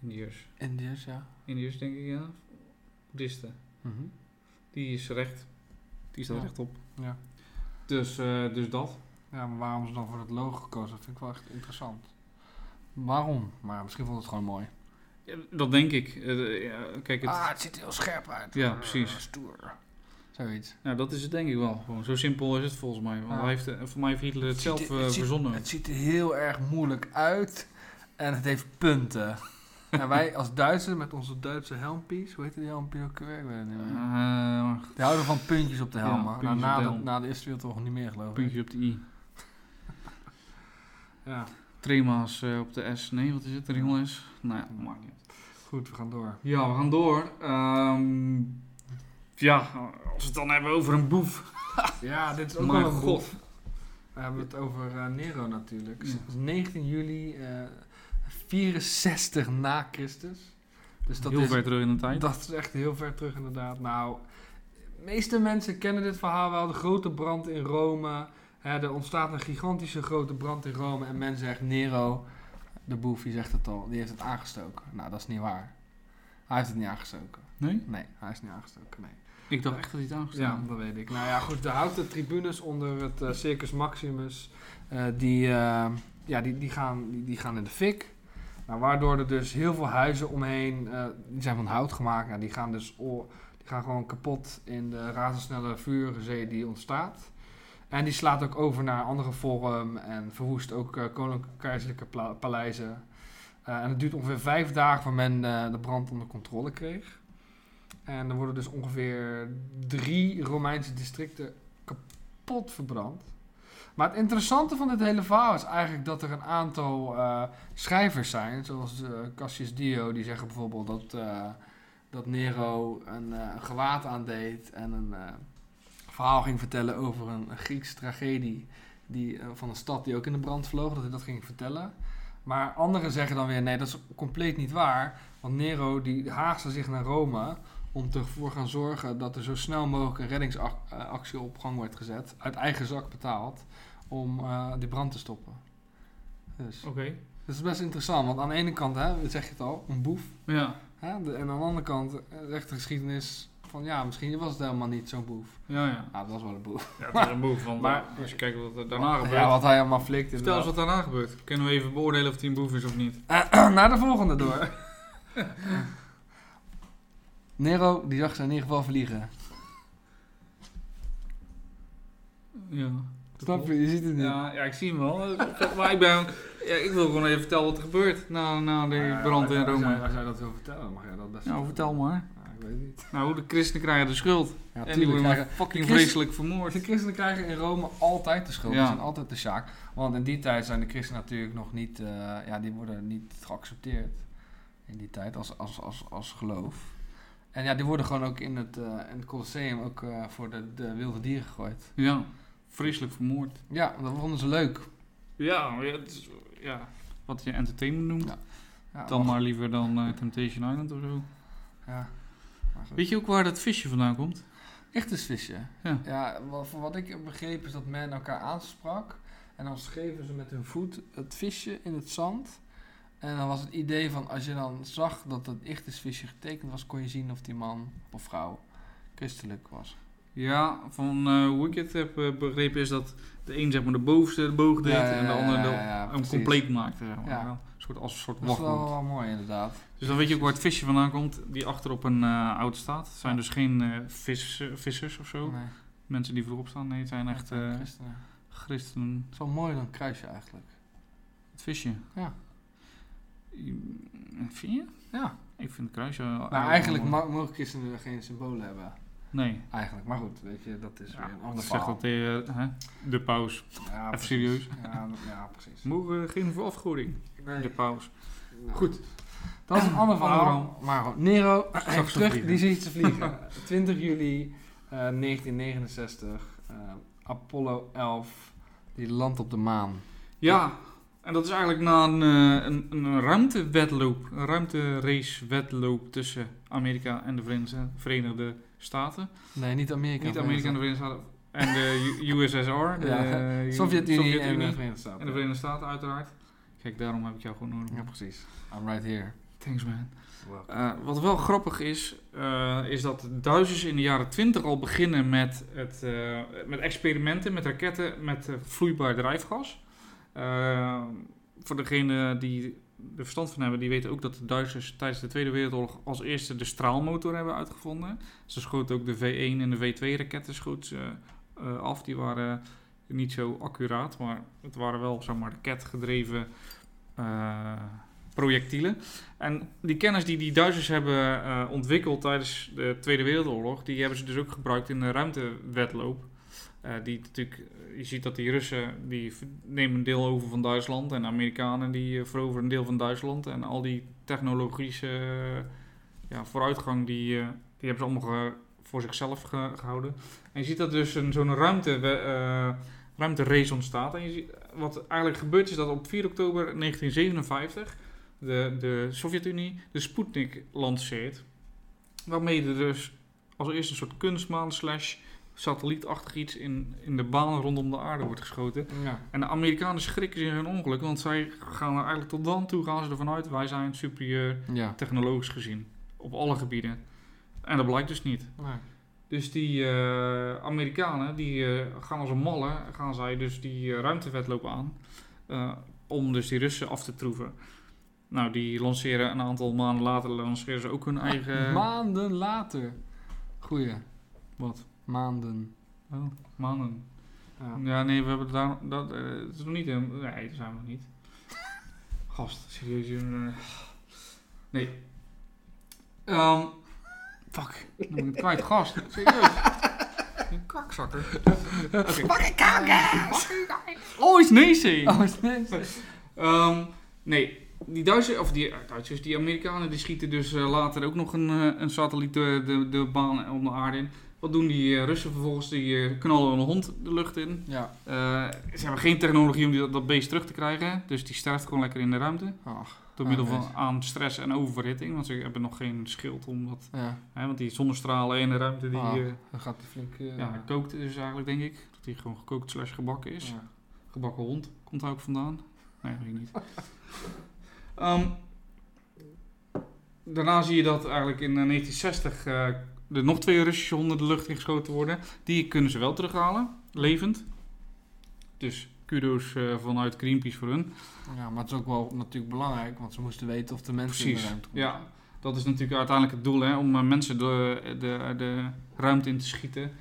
A: Indiërs.
B: Indiërs, ja. Mhm.
A: Indiërs denk ik, ja. Boeddhisten. Die is recht. Die staat
B: Ja.
A: rechtop.
B: ja.
A: Dus, eh, dus dat.
B: Ja, maar waarom ze dan voor het logo gekozen? Dat vind ik wel echt interessant. Waarom? Maar misschien vond het gewoon mooi.
A: Ja, dat denk ik. Eh, ja, kijk, het,
B: Ah, het ziet er heel scherp uit.
A: Ja,
B: Eh,
A: precies.
B: Stoer. Zoiets.
A: nou, dat is het denk ik wel. Gewoon. Zo simpel is het volgens mij. Want
B: Ja.
A: hij heeft, eh, voor mij heeft Hitler het,
B: Het
A: zelf
B: Ah. ziet er-
A: eh,
B: het ziet-
A: verzonnen.
B: Het ziet er heel erg moeilijk uit. En het heeft punten. en wij als Duitsers met onze Duitse helmpies, hoe heet die helmpies ook weer? Ik weet het niet meer.
A: Eh,
B: Die houden van puntjes op de helm.
A: Ja,
B: man. nou,
A: puntjes op
B: na,
A: de
B: de,
A: helm.
B: na de Eerste Wereldoorlog niet meer geloof ik.
A: puntjes op de i.
B: Ja,
A: Trema's eh, op de S. Nee, wat is het? Ringel S? Nou ja, maakt niet uit.
B: goed, we gaan door.
A: Ja, we gaan door. Ehm, ja, als we het dan hebben over een boef.
B: Ja, dit is ook
A: Mijn
B: wel een
A: god.
B: god. We hebben het over eh, Nero natuurlijk.
A: Ja.
B: Het is 19 juli eh, 64 na Christus. Dus dat
A: Heel
B: is
A: ver terug in de tijd.
B: Dat is echt heel ver terug, inderdaad. Nou, de meeste mensen kennen dit verhaal wel. De grote brand in Rome. Hè, er ontstaat een gigantische grote brand in Rome. En men zegt, Nero, de boef, die zegt het al, die heeft het aangestoken. Nou, dat is niet waar. Hij heeft het niet aangestoken.
A: Nee?
B: Nee, hij is niet aangestoken, nee.
A: Ik dacht echt dat hij het aangestaan
B: Ja,
A: had.
B: dat weet ik. Nou ja, goed, de houten tribunes onder het eh, Circus Maximus, eh, die, eh, ja, die, die, gaan, die, die gaan in de fik. Nou, waardoor er dus heel veel huizen omheen, eh, die zijn van hout gemaakt, nou, die gaan dus o- die gaan gewoon kapot in de razendsnelle vuurzee die ontstaat. En die slaat ook over naar andere vorm en verwoest ook eh, koninklijke keizerlijke pla- paleizen. Eh, en het duurt ongeveer vijf dagen voor men eh, de brand onder controle kreeg. En er worden dus ongeveer drie Romeinse districten kapot verbrand. Maar het interessante van dit hele verhaal is eigenlijk dat er een aantal eh, schrijvers zijn, zoals eh, Cassius Dio, die zeggen bijvoorbeeld dat, eh, dat Nero een, eh, een gewaad aandeed en een eh, verhaal ging vertellen over een Griekse tragedie die, eh, van een stad die ook in de brand vloog, dat hij dat ging vertellen. Maar anderen zeggen dan weer, nee, dat is compleet niet waar, want Nero die haagste zich naar Rome om ervoor gaan zorgen dat er zo snel mogelijk een reddingsactie op gang wordt gezet, uit eigen zak betaald, om eh, die brand te stoppen. Dus.
A: Oké.
B: Dat is best interessant, want aan de ene kant, hè, dat zeg je het al, een boef.
A: Ja,
B: Hè, de- en aan de andere kant eh, zegt de geschiedenis van ja, misschien was het helemaal niet zo'n boef.
A: ja, ja.
B: Nou, dat was wel een boef.
A: Ja, het is een boef. Want
B: Maar-
A: als je kijkt wat er daarna gebeurt.
B: Ja, wat hij allemaal flikt.
A: Vertel eens
B: inderdaad.
A: wat daarna gebeurt. Kunnen we even beoordelen of hij een boef is of niet?
B: Eh, Naar de volgende door. Nero, die zag ze in ieder geval vliegen.
A: Ja.
B: Snap je? Je ziet het niet.
A: Ja, ja, ik zie hem wel. maar ik, ben, ja, ik wil gewoon even vertellen wat er gebeurt na, na de brand in Rome.
B: zou dat wil vertellen, mag jij dat best
A: Nou, vertel maar.
B: ik weet niet.
A: Nou, de christenen krijgen de schuld.
B: Ja,
A: en die
B: tuurlijk.
A: worden
B: Krijgen,
A: maar fucking
B: de christen-
A: vreselijk vermoord.
B: de christenen krijgen in Rome altijd de schuld.
A: Ja.
B: Ze zijn altijd de zaak. Want in die tijd zijn de christenen natuurlijk nog niet... eh, ja, die worden niet geaccepteerd in die tijd als, als, als, als geloof. En ja, die worden gewoon ook in het, eh, in het Colosseum ook eh, voor de, de wilde dieren gegooid.
A: Ja, vreselijk vermoord.
B: Ja, dat vonden ze leuk.
A: Ja, maar ja, het is- ja. wat je entertainment noemt.
B: Ja. Ja,
A: Dan maar liever dan eh, Temptation Island of zo.
B: Ja. Maar goed.
A: Weet je ook waar dat visje vandaan komt?
B: Ichtersvisje.
A: Ja.
B: Ja, wa- voor wat ik heb begrepen is dat men elkaar aansprak. En dan schreven ze met hun voet het visje in het zand. En dan was het idee van als je dan zag dat het ichtersvisje getekend was, kon je zien of die man of vrouw christelijk was.
A: Ja, van eh, hoe ik het heb eh, begrepen is dat de een zeg maar de bovenste de boog deed
B: Ja, ja,
A: en de
B: ja,
A: ander
B: ja,
A: de-
B: ja, ja,
A: hem
B: precies.
A: compleet maakte. Zeg maar.
B: Ja.
A: Een soort, als een soort
B: Dat is wel,
A: wachtwoord.
B: wel mooi inderdaad.
A: Dus dan weet je ook waar het visje vandaan komt die achter op een eh oud staat. Het zijn dus geen eh, vis, vissers of zo.
B: Nee,
A: Mensen die voorop staan. Nee, het zijn echt
B: ja,
A: eh,
B: christenen.
A: christenen.
B: Het is wel mooi dan kruisje eigenlijk.
A: Het visje.
B: Ja.
A: Vind je?
B: Ja.
A: Ik vind het kruisje... wel-
B: Maar Nou, eigenlijk ma- mogen christenen geen symbolen hebben.
A: Nee.
B: Eigenlijk. Maar goed, weet je, dat is weer een ander
A: zegt
B: verhaal.
A: dat de, hè, de paus.
B: Ja,
A: Even
B: precies.
A: serieus.
B: Ja, ja, precies.
A: Mogen geen verafgoeding. De paus. Goed.
B: Dat is een ander verhaal.
A: Anderham.
B: Maar goed, Nero,
A: Zag
B: even
A: ze
B: terug,
A: vliegen.
B: die ziet ze vliegen. 20 juli eh, 1969, eh, Apollo 11, die landt op de maan.
A: Ja, en dat is eigenlijk na een, eh, een, een ruimtewedloop, een ruimterace-wedloop tussen Amerika en de Verenigde, Verenigde Staten.
B: Nee, niet Amerika.
A: Niet Amerika en de Verenigde Staten. En de U- USSR, de
B: Ja,
A: eh, U-
B: Sovjet-Unie en de
A: Sovjet-Unie
B: Verenigde Staten.
A: en de Verenigde Staten uiteraard. Kijk, daarom heb ik jou gewoon nodig.
B: Ja, precies. I'm right here.
A: Thanks man. Eh, wat wel grappig is, eh, is dat de Duitsers in de jaren 20 al beginnen met, het, eh, met experimenten met raketten met eh, vloeibaar drijfgas. Eh, voor degene die er verstand van hebben, die weten ook dat de Duitsers tijdens de Tweede Wereldoorlog als eerste de straalmotor hebben uitgevonden. Ze schoten ook de V1 en de V2-raketten schoot ze, eh, af. Die waren niet zo accuraat, maar het waren wel zeg maar, raketgedreven eh, projectielen. En die kennis die die Duitsers hebben eh, ontwikkeld tijdens de Tweede Wereldoorlog, die hebben ze dus ook gebruikt in de ruimtewedloop. Eh, die natuurlijk, je ziet dat die Russen die v- nemen een deel over van Duitsland en de Amerikanen die eh, veroveren een deel van Duitsland. En al die technologische eh, ja, vooruitgang die, eh, die hebben ze allemaal ge- voor zichzelf ge- gehouden. En je ziet dat dus een, zo'n ruimte, eh ruimterace ontstaat. En je ziet, wat eigenlijk gebeurt is dat op 4 oktober 1957 de, de Sovjet-Unie de Sputnik lanceert. Waarmee er dus als eerste een soort kunstmaan slash satellietachtig iets in, in de baan rondom de aarde wordt geschoten.
B: Ja.
A: En de Amerikanen schrikken zich in hun ongeluk, want zij gaan er eigenlijk tot dan toe gaan ze ervan uit, wij zijn superieur
B: ja.
A: technologisch gezien. Op alle gebieden. En dat blijkt dus niet. Dus die eh, Amerikanen die eh, gaan als een malle, gaan zij dus die eh, ruimtewedloop aan. eh, om dus die Russen af te troeven. Nou, die lanceren een aantal maanden later lanceren ze ook hun eigen.
B: Eh, Maanden later. Goeie.
A: Wat?
B: Maanden.
A: Oh, maanden.
B: Ja.
A: Ja, nee, we hebben daar. Dat, eh, het is nog niet. een- Nee, daar zijn we nog niet. Gast, serieus. jongen. eh. Nee. Ehm fuck, dan ben ik het kwijt. Gast, serieus. Een kakzakker. Oké. Oh, is nee, zeg.
B: Oh, is nee.
A: Ehm, nee, die Duitsers, of die eh, Duitsers, die Amerikanen, die schieten dus eh, later ook nog een, eh, een satelliet de, de, de baan om de aarde in. Wat doen die eh, Russen vervolgens? Die eh, knallen een hond de lucht in.
B: Ja.
A: Eh, ze hebben geen technologie om die, dat beest terug te krijgen. Dus die sterft gewoon lekker in de ruimte.
B: Ach,
A: Door
B: Ah,
A: middel
B: nice.
A: van aan stress en oververhitting. Want ze hebben nog geen schild om dat.
B: ja.
A: Hè, want die zonnestralen in de ruimte die
B: Ah,
A: eh,
B: Dan gaat hij flink... eh,
A: ja, kookt dus eigenlijk denk ik. Dat die gewoon gekookt slash gebakken is.
B: ja.
A: Gebakken hond komt daar ook vandaan. Nee, weet ik niet. Ehm, daarna zie je dat eigenlijk in eh, 1960 eh, er nog twee Russische honden de lucht ingeschoten worden. Die kunnen ze wel terughalen, levend. Dus kudo's eh, vanuit Greenpeace voor hun.
B: Ja, maar het is ook wel natuurlijk belangrijk, want ze moesten weten of de mensen in
A: Precies,
B: de ruimte
A: ja. Dat is natuurlijk uiteindelijk het doel, hè, om eh, mensen de, de, de ruimte in te schieten.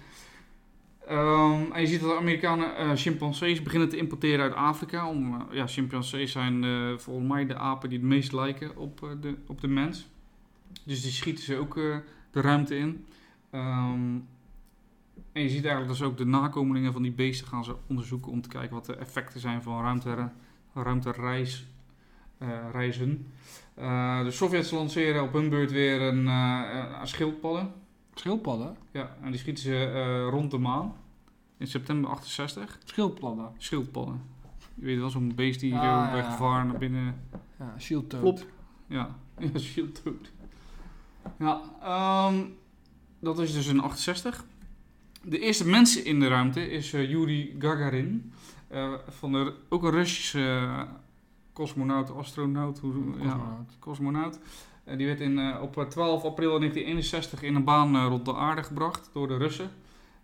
A: Ehm, en je ziet dat de Amerikanen eh, chimpansees beginnen te importeren uit Afrika. Om, eh, ja, chimpansees zijn eh, volgens mij de apen die het meest lijken op, eh, de, op de mens. Dus die schieten ze ook eh, de ruimte in. Ehm, en je ziet eigenlijk dat ze ook de nakomelingen van die beesten gaan ze onderzoeken om te kijken wat de effecten zijn van ruimte, ruimtereis, eh, reizen. Eh, de Sovjets lanceren op hun beurt weer een, eh, een schildpadden.
B: Schildpadden?
A: Ja, en die schieten ze eh, rond de maan. In september 68.
B: Schildpadden.
A: Schildpadden. Je weet wel, zo'n beest die
B: Ah,
A: zo bij
B: ja.
A: gevaar naar binnen...
B: Ja, shieldtoad.
A: Plop. Ja, ja schildtoad. Ja, ehm, dat is dus in 68. De eerste mens in de ruimte is eh, Yuri Gagarin. Eh, van de, ook een Russische eh, cosmonaut, astronaut. Hoe, ja,
B: Cosmonaut.
A: cosmonaut. Eh, die werd in, eh, op eh, 12 april 1961 in een baan eh, rond de aarde gebracht door de Russen.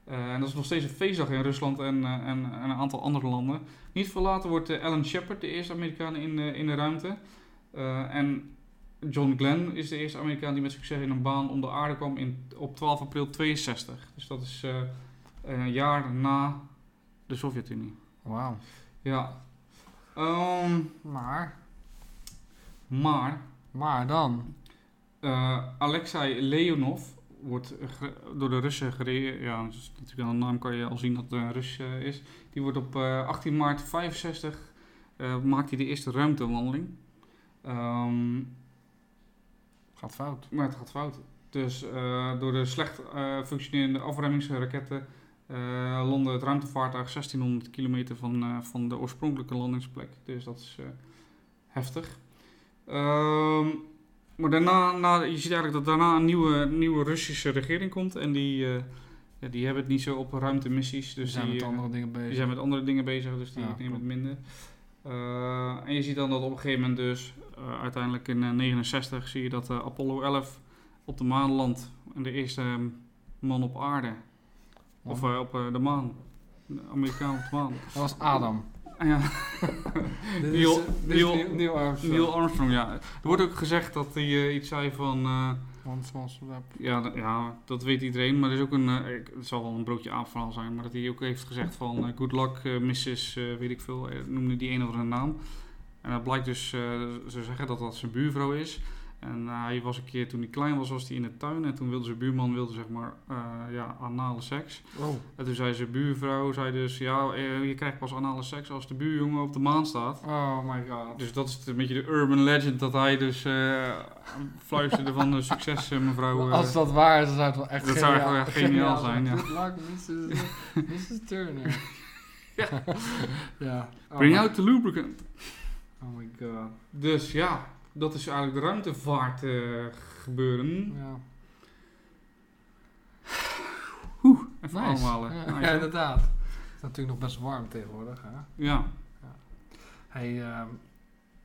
A: Eh, en dat is nog steeds een feestdag in Rusland en, eh, en, en een aantal andere landen. Niet veel later wordt eh, Alan Shepard de eerste Amerikaan in, de- in de ruimte. Eh, en John Glenn is de eerste Amerikaan die met succes in een baan om de aarde kwam in, op 12 april 62. Dus dat is eh, een jaar na de Sovjet-Unie.
B: Wauw.
A: Ja. Ehm,
B: Maar,
A: maar
B: maar dan.
A: Eh, Alexei Leonov wordt eh, ge- door de Russen gereden. Ja, dus natuurlijk aan de naam kan je al zien dat het een Rus eh, is. Die wordt op eh, 18 maart 65 eh, maakt hij de eerste ruimtewandeling. Ehm,
B: Gaat fout.
A: maar het gaat fout. Dus eh, door de slecht eh, functionerende afremmingsraketten eh landde het ruimtevaartuig 1600 kilometer van, eh, van de oorspronkelijke landingsplek. Dus dat is eh, heftig. Ehm, maar daarna, na, je ziet eigenlijk dat daarna een nieuwe, nieuwe Russische regering komt. En die, eh, ja, die hebben het niet zo op ruimtemissies. Dus
B: Dus zijn
A: die,
B: met
A: eh,
B: andere dingen bezig.
A: die zijn met andere dingen bezig, dus die
B: Ja,
A: nemen
B: klopt.
A: het minder. Eh, en je ziet dan dat op een gegeven moment dus, eh, uiteindelijk in eh, 69 zie je dat eh, Apollo 11 op de maan landt. En de eerste eh, man op aarde, of eh, op eh, de maan, De Amerikaan op de maan.
B: Dat was Adam.
A: ja,
B: Dit
A: Neil-
B: is, eh, dit is
A: Neil-
B: Neil, Neil Armstrong.
A: Neil Armstrong, ja. Er wordt ook gezegd dat hij eh, iets zei van... eh,
B: Once was a rap.
A: ja, d- ja, dat weet iedereen, maar er is ook een... eh, ik- het zal wel een broodje aapverhaal zijn, maar dat hij ook heeft gezegd van... eh, good luck, eh, Mrs. eh, weet ik veel, eh, noemde die een of andere naam. En dat blijkt dus, eh, ze zeggen dat dat zijn buurvrouw is. En eh, hij was een keer, toen hij klein was, was hij in de tuin. En toen wilde zijn buurman, wilde zeg maar, eh, ja, anale seks.
B: Oh.
A: En toen zei zijn buurvrouw, zei dus, ja, eh, je krijgt pas anale seks als de buurjongen op de maan staat.
B: oh my god.
A: Dus dat is het een beetje de urban legend dat hij dus eh, fluisterde van eh, succes eh, mevrouw. eh.
B: Oh, Als dat waar is, dan zou het wel echt
A: Dat
B: geniaal,
A: zou echt wel geniaal zijn, ja.
B: Good luck, Mrs. Mrs. Turner. ja. ja. Oh
A: bring
B: my-
A: out the lubricant.
B: Oh my god.
A: Dus ja, dat is eigenlijk de ruimtevaart eh, gebeuren.
B: Ja.
A: Even
B: Nice.
A: allemaal.
B: Ja,
A: Ja.
B: ja, inderdaad. Het is natuurlijk nog best warm tegenwoordig. Hè?
A: ja.
B: Hey, ehm,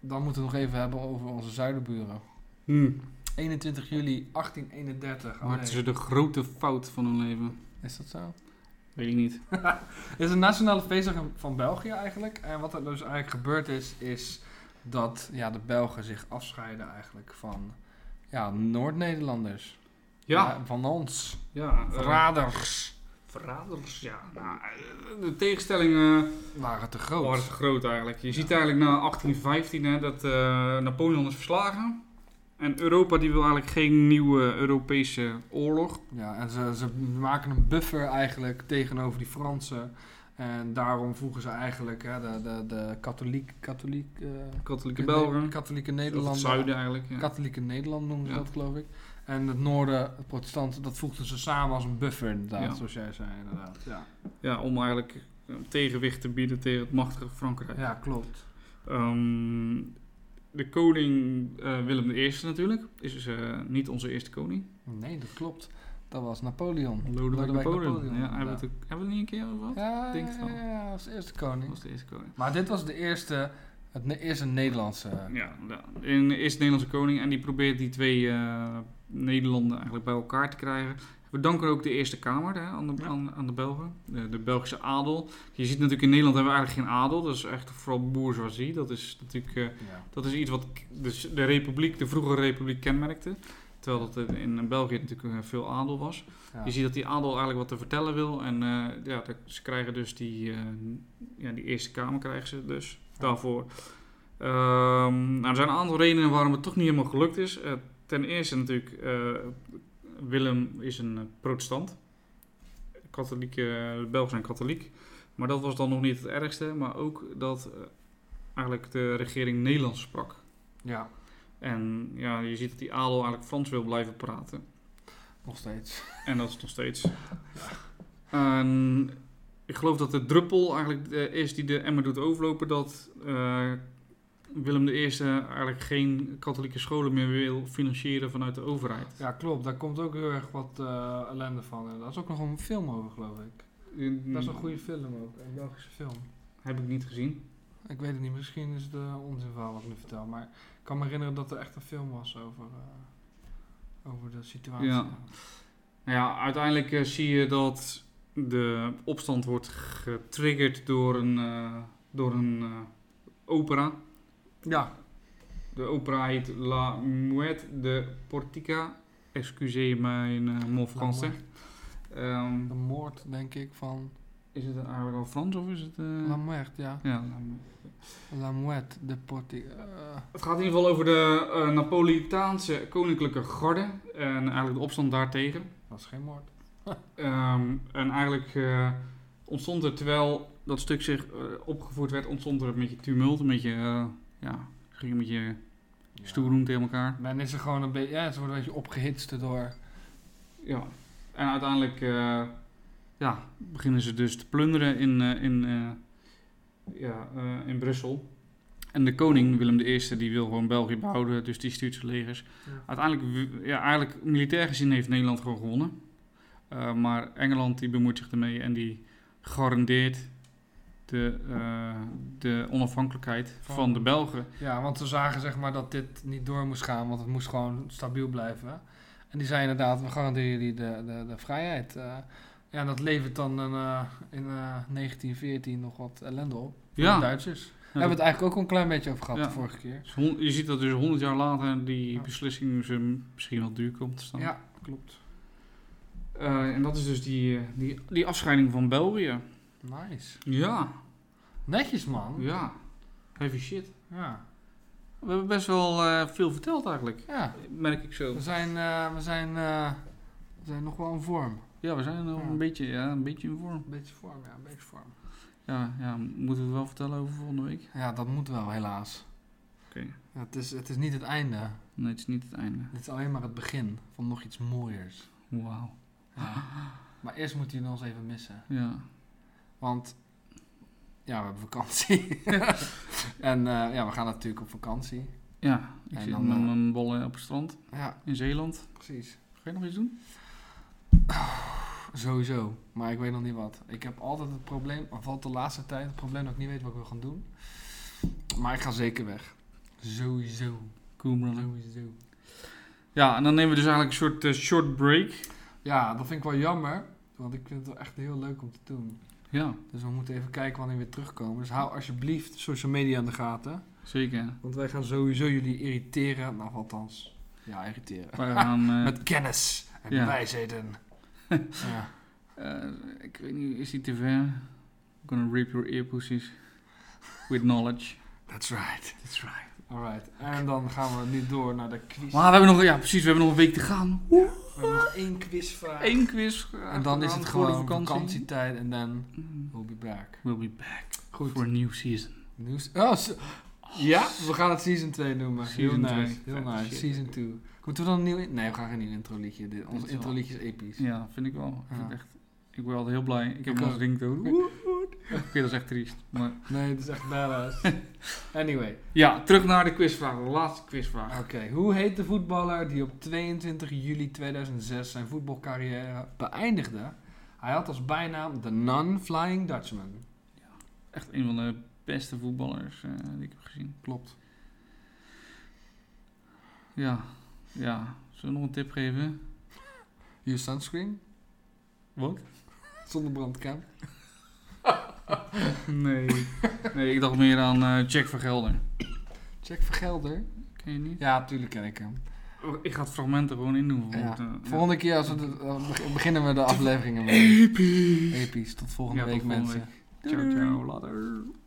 B: dan moeten we nog even hebben over onze zuidenburen.
A: Hm.
B: 21 juli 1831. Oh,
A: Maakten
B: nee.
A: ze de grote fout van hun leven?
B: Is dat zo?
A: Weet ik niet.
B: Het is een nationale feestdag in- van België eigenlijk. En wat er dus eigenlijk gebeurd is, is dat ja, de Belgen zich afscheiden eigenlijk van ja, Noord-Nederlanders.
A: Ja,
B: Van ons.
A: ja. eh,
B: Verraders.
A: verraders, ja. Nou, eh, de tegenstellingen.
B: Waren te
A: Oh, dat is
B: groot.
A: groot eigenlijk. Je ziet eigenlijk na 1815 hè, dat eh, Napoleon is verslagen. En Europa die wil eigenlijk geen nieuwe Europese oorlog.
B: Ja, en ze, ze maken een buffer eigenlijk tegenover die Fransen. En daarom voegen ze eigenlijk hè, de, de, de katholiek, katholiek, eh,
A: Katholieke Belgen.
B: katholieke
A: Of het
B: Nederlanders.
A: zuiden eigenlijk. Ja.
B: Katholieke Nederland noemen ze
A: Ja.
B: dat, geloof ik. En het noorden, het protestanten, dat voegden ze samen als een buffer, inderdaad.
A: Ja.
B: Zoals jij zei, inderdaad. Ja,
A: Ja, om eigenlijk een tegenwicht te bieden tegen het machtige Frankrijk.
B: ja klopt.
A: Ehm, de koning eh, Willem I natuurlijk is dus, eh, niet onze eerste koning.
B: Nee, dat klopt. Dat was Napoleon.
A: Lodewijk Napoleon. Ja, hebben, we
B: inderdaad.
A: het ook- hebben we het niet een keer over gehad?
B: ja,
A: denk het wel.
B: ja, ja, als eerste
A: Dat
B: koning.
A: was de eerste koning.
B: Maar dit was de eerste, het ne- eerste Nederlandse.
A: Ja, ja. En is de Nederlandse koning en die probeert die twee eh, Nederlanden eigenlijk bij elkaar te krijgen. We danken ook de Eerste Kamer hè, aan, de,
B: Ja.
A: aan, aan de Belgen, de, de Belgische adel. Je ziet natuurlijk in Nederland hebben we eigenlijk geen adel, dat is echt vooral bourgeoisie. Dat is natuurlijk eh,
B: Ja.
A: dat is iets wat k- dus de republiek, de vroegere republiek kenmerkte. Terwijl dat eh, in België natuurlijk eh, veel adel was.
B: Ja.
A: Je ziet dat die adel eigenlijk wat te vertellen wil. En eh, ja, dat- ze krijgen dus die, eh, ja, die Eerste Kamer krijgen ze dus daarvoor. Ehm, nou, er zijn een aantal redenen waarom het toch niet helemaal gelukt is. Eh, ten eerste natuurlijk, eh, Willem is een eh, protestant. Katholieke, de Belgen zijn katholiek. Maar dat was dan nog niet het ergste. Maar ook dat eh, eigenlijk de regering Nederlands sprak.
B: ja,
A: En ja, je ziet dat die adel eigenlijk Frans wil blijven praten.
B: nog steeds.
A: En dat is nog steeds. En ik geloof dat de druppel eigenlijk eh, is die de emmer doet overlopen dat eh, Willem I eigenlijk geen katholieke scholen meer wil financieren vanuit de overheid.
B: Ja, klopt. Daar komt ook heel erg wat eh, ellende van. En daar is ook nog een film over, geloof ik. Dat is
A: Hmm.
B: een goede film ook. Een Belgische film.
A: Mm, Heb ik niet gezien.
B: Ik weet het niet, misschien is het eh, onzinverhaal wat ik nu vertel. Maar ik kan me herinneren dat er echt een film was over, eh, over de situatie.
A: Ja. Nou ja, uiteindelijk eh, zie je dat de opstand wordt getriggerd door een, eh, door een eh, opera.
B: ja.
A: De opera heet La Muette de Portica. Excuseer mijn eh, mon français. Ehm,
B: De moord, denk ik, van
A: is het eigenlijk al Frans of is het... eh,
B: La Muerte, ja.
A: ja, La Muette.
B: La Muerte de Porti. eh,
A: Het gaat in ieder geval over de eh, Napolitaanse koninklijke garde. En eigenlijk de opstand daartegen.
B: dat is geen moord.
A: Ehm, en eigenlijk eh, ontstond er, terwijl dat stuk zich eh, opgevoerd werd, ontstond er een beetje tumult. Een beetje, eh, ja, ging een beetje stoeroem tegen elkaar.
B: Men is er gewoon een beetje, ja, ze worden een beetje opgehitst door.
A: Ja, en uiteindelijk eh, ja, beginnen ze dus te plunderen in, eh, in, eh, ja, eh, in Brussel. En de koning, Willem I, die wil gewoon België behouden, dus die stuurt zijn legers.
B: Ja.
A: Uiteindelijk, w- ja, eigenlijk militair gezien heeft Nederland gewoon gewonnen. Eh, maar Engeland die bemoeit zich ermee en die garandeert de, eh, de onafhankelijkheid
B: Van-
A: van de Belgen.
B: want ze zagen zeg maar dat dit niet door moest gaan, want het moest gewoon stabiel blijven. En die zei inderdaad, we garanderen jullie de, de, de vrijheid. eh, Ja, en dat levert dan een, eh, in eh, 1914 nog wat ellende op. Voor
A: Ja.
B: de Duitsers. Daar
A: Ja,
B: hebben we het eigenlijk ook een klein beetje over gehad
A: Ja.
B: de vorige keer.
A: Dus hon- Je ziet dat dus 100 jaar later die
B: Ja.
A: beslissing ze misschien wel duur komt te staan.
B: Ja, klopt.
A: Eh, en dat is dus die, eh, die, die afscheiding van België.
B: Nice.
A: Ja,
B: Netjes, man. Ja.
A: ja. Heavy shit.
B: Ja.
A: Oh. We hebben best wel eh, veel verteld eigenlijk. Merk ik zo.
B: We zijn, eh, we, zijn, eh, we zijn nog wel in vorm.
A: Ja, we zijn nog
B: Ja.
A: een, beetje, ja, een beetje in vorm.
B: Een beetje vorm, ja. Een beetje vorm.
A: Ja, ja, moeten we het wel vertellen over volgende week?
B: Ja, dat moet wel, helaas.
A: Oké.
B: Ja, het, is, het is niet het einde.
A: Nee, het is niet het einde.
B: Dit is alleen maar het begin van nog iets mooiers.
A: Wauw.
B: Maar eerst moet hij ons even missen.
A: Ja.
B: Want ja, we hebben vakantie. en eh, ja, we gaan natuurlijk op vakantie.
A: Ja, ik
B: En
A: zit
B: dan,
A: met
B: eh,
A: mijn bollen op het strand
B: Ja,
A: in Zeeland.
B: precies.
A: Ga je nog iets doen?
B: Sowieso. Maar ik weet nog niet wat. Ik heb altijd het probleem, of valt de laatste tijd het probleem dat ik niet weet wat ik wil gaan doen. Maar ik ga zeker weg. Sowieso.
A: Cool, brother.
B: Sowieso.
A: Ja, en dan nemen we dus eigenlijk een soort eh, short break.
B: Ja, dat vind ik wel jammer. Want ik vind het wel echt heel leuk om te doen.
A: Ja,
B: Dus we moeten even kijken wanneer we weer terugkomen. Dus hou alsjeblieft social media in de gaten.
A: zeker.
B: Want wij gaan sowieso jullie irriteren. Nou, althans. Ja, irriteren.
A: Wij gaan... eh,
B: Met kennis en
A: Ja.
B: wijsheden. ja.
A: eh, ik weet niet, is die te ver? I'm gonna rip your ear pussies. With knowledge.
B: That's right.
A: That's right.
B: Alright. En dan gaan we nu door naar de quiz.
A: Maar we hebben nog... Ja, precies. We hebben nog een week te gaan. Woe!
B: We hebben nog één quizvraag.
A: Eén quiz. eh,
B: En dan is het
A: voor de
B: gewoon vakantietijd en dan
A: Mm.
B: we'll be back.
A: We'll be back
B: Goed.
A: for a new season.
B: Nieuws. Oh, s- ja, we gaan het season 2 noemen.
A: Season
B: heel nice.
A: 2.
B: Heel
A: Vette
B: nice.
A: shit.
B: Season 2. Moeten we dan een nieuw... in- Nee, we gaan geen nieuw intro liedje. Dit,
A: Dit
B: ons
A: is
B: intro
A: wel-
B: liedje is episch.
A: Ja, vind ik wel. Ik, vind
B: Ja.
A: echt, ik word altijd heel blij. Ik heb
B: Ik
A: hem als
B: ook.
A: ringtoon. Oké, dat is echt triest. Maar
B: Nee, het is echt badass. anyway.
A: Ja, terug naar de quizvraag, de laatste quizvraag.
B: Oké, hoe heet de voetballer die op 22 juli 2006 zijn voetbalcarrière beëindigde? Hij had als bijnaam de Non-Flying Dutchman.
A: Echt een van de beste voetballers eh, die ik heb gezien.
B: Klopt.
A: Ja, ja. Zullen we nog een tip geven?
B: Use sunscreen?
A: Wat?
B: Zonder brandcrème?
A: Nee. nee, ik dacht meer aan eh, Jack Vergelder.
B: Check Vergelder.
A: Ken je niet?
B: Ja, tuurlijk ken ik hem.
A: Oh, Ik ga het fragmenten gewoon indoen.
B: Ja.
A: want, eh, ja.
B: Volgende keer als we de- dan beg- beginnen we de afleveringen mee. Episch. Tot volgende
A: Ja, tot
B: week,
A: volgende
B: mensen.
A: Ciao, ciao, later.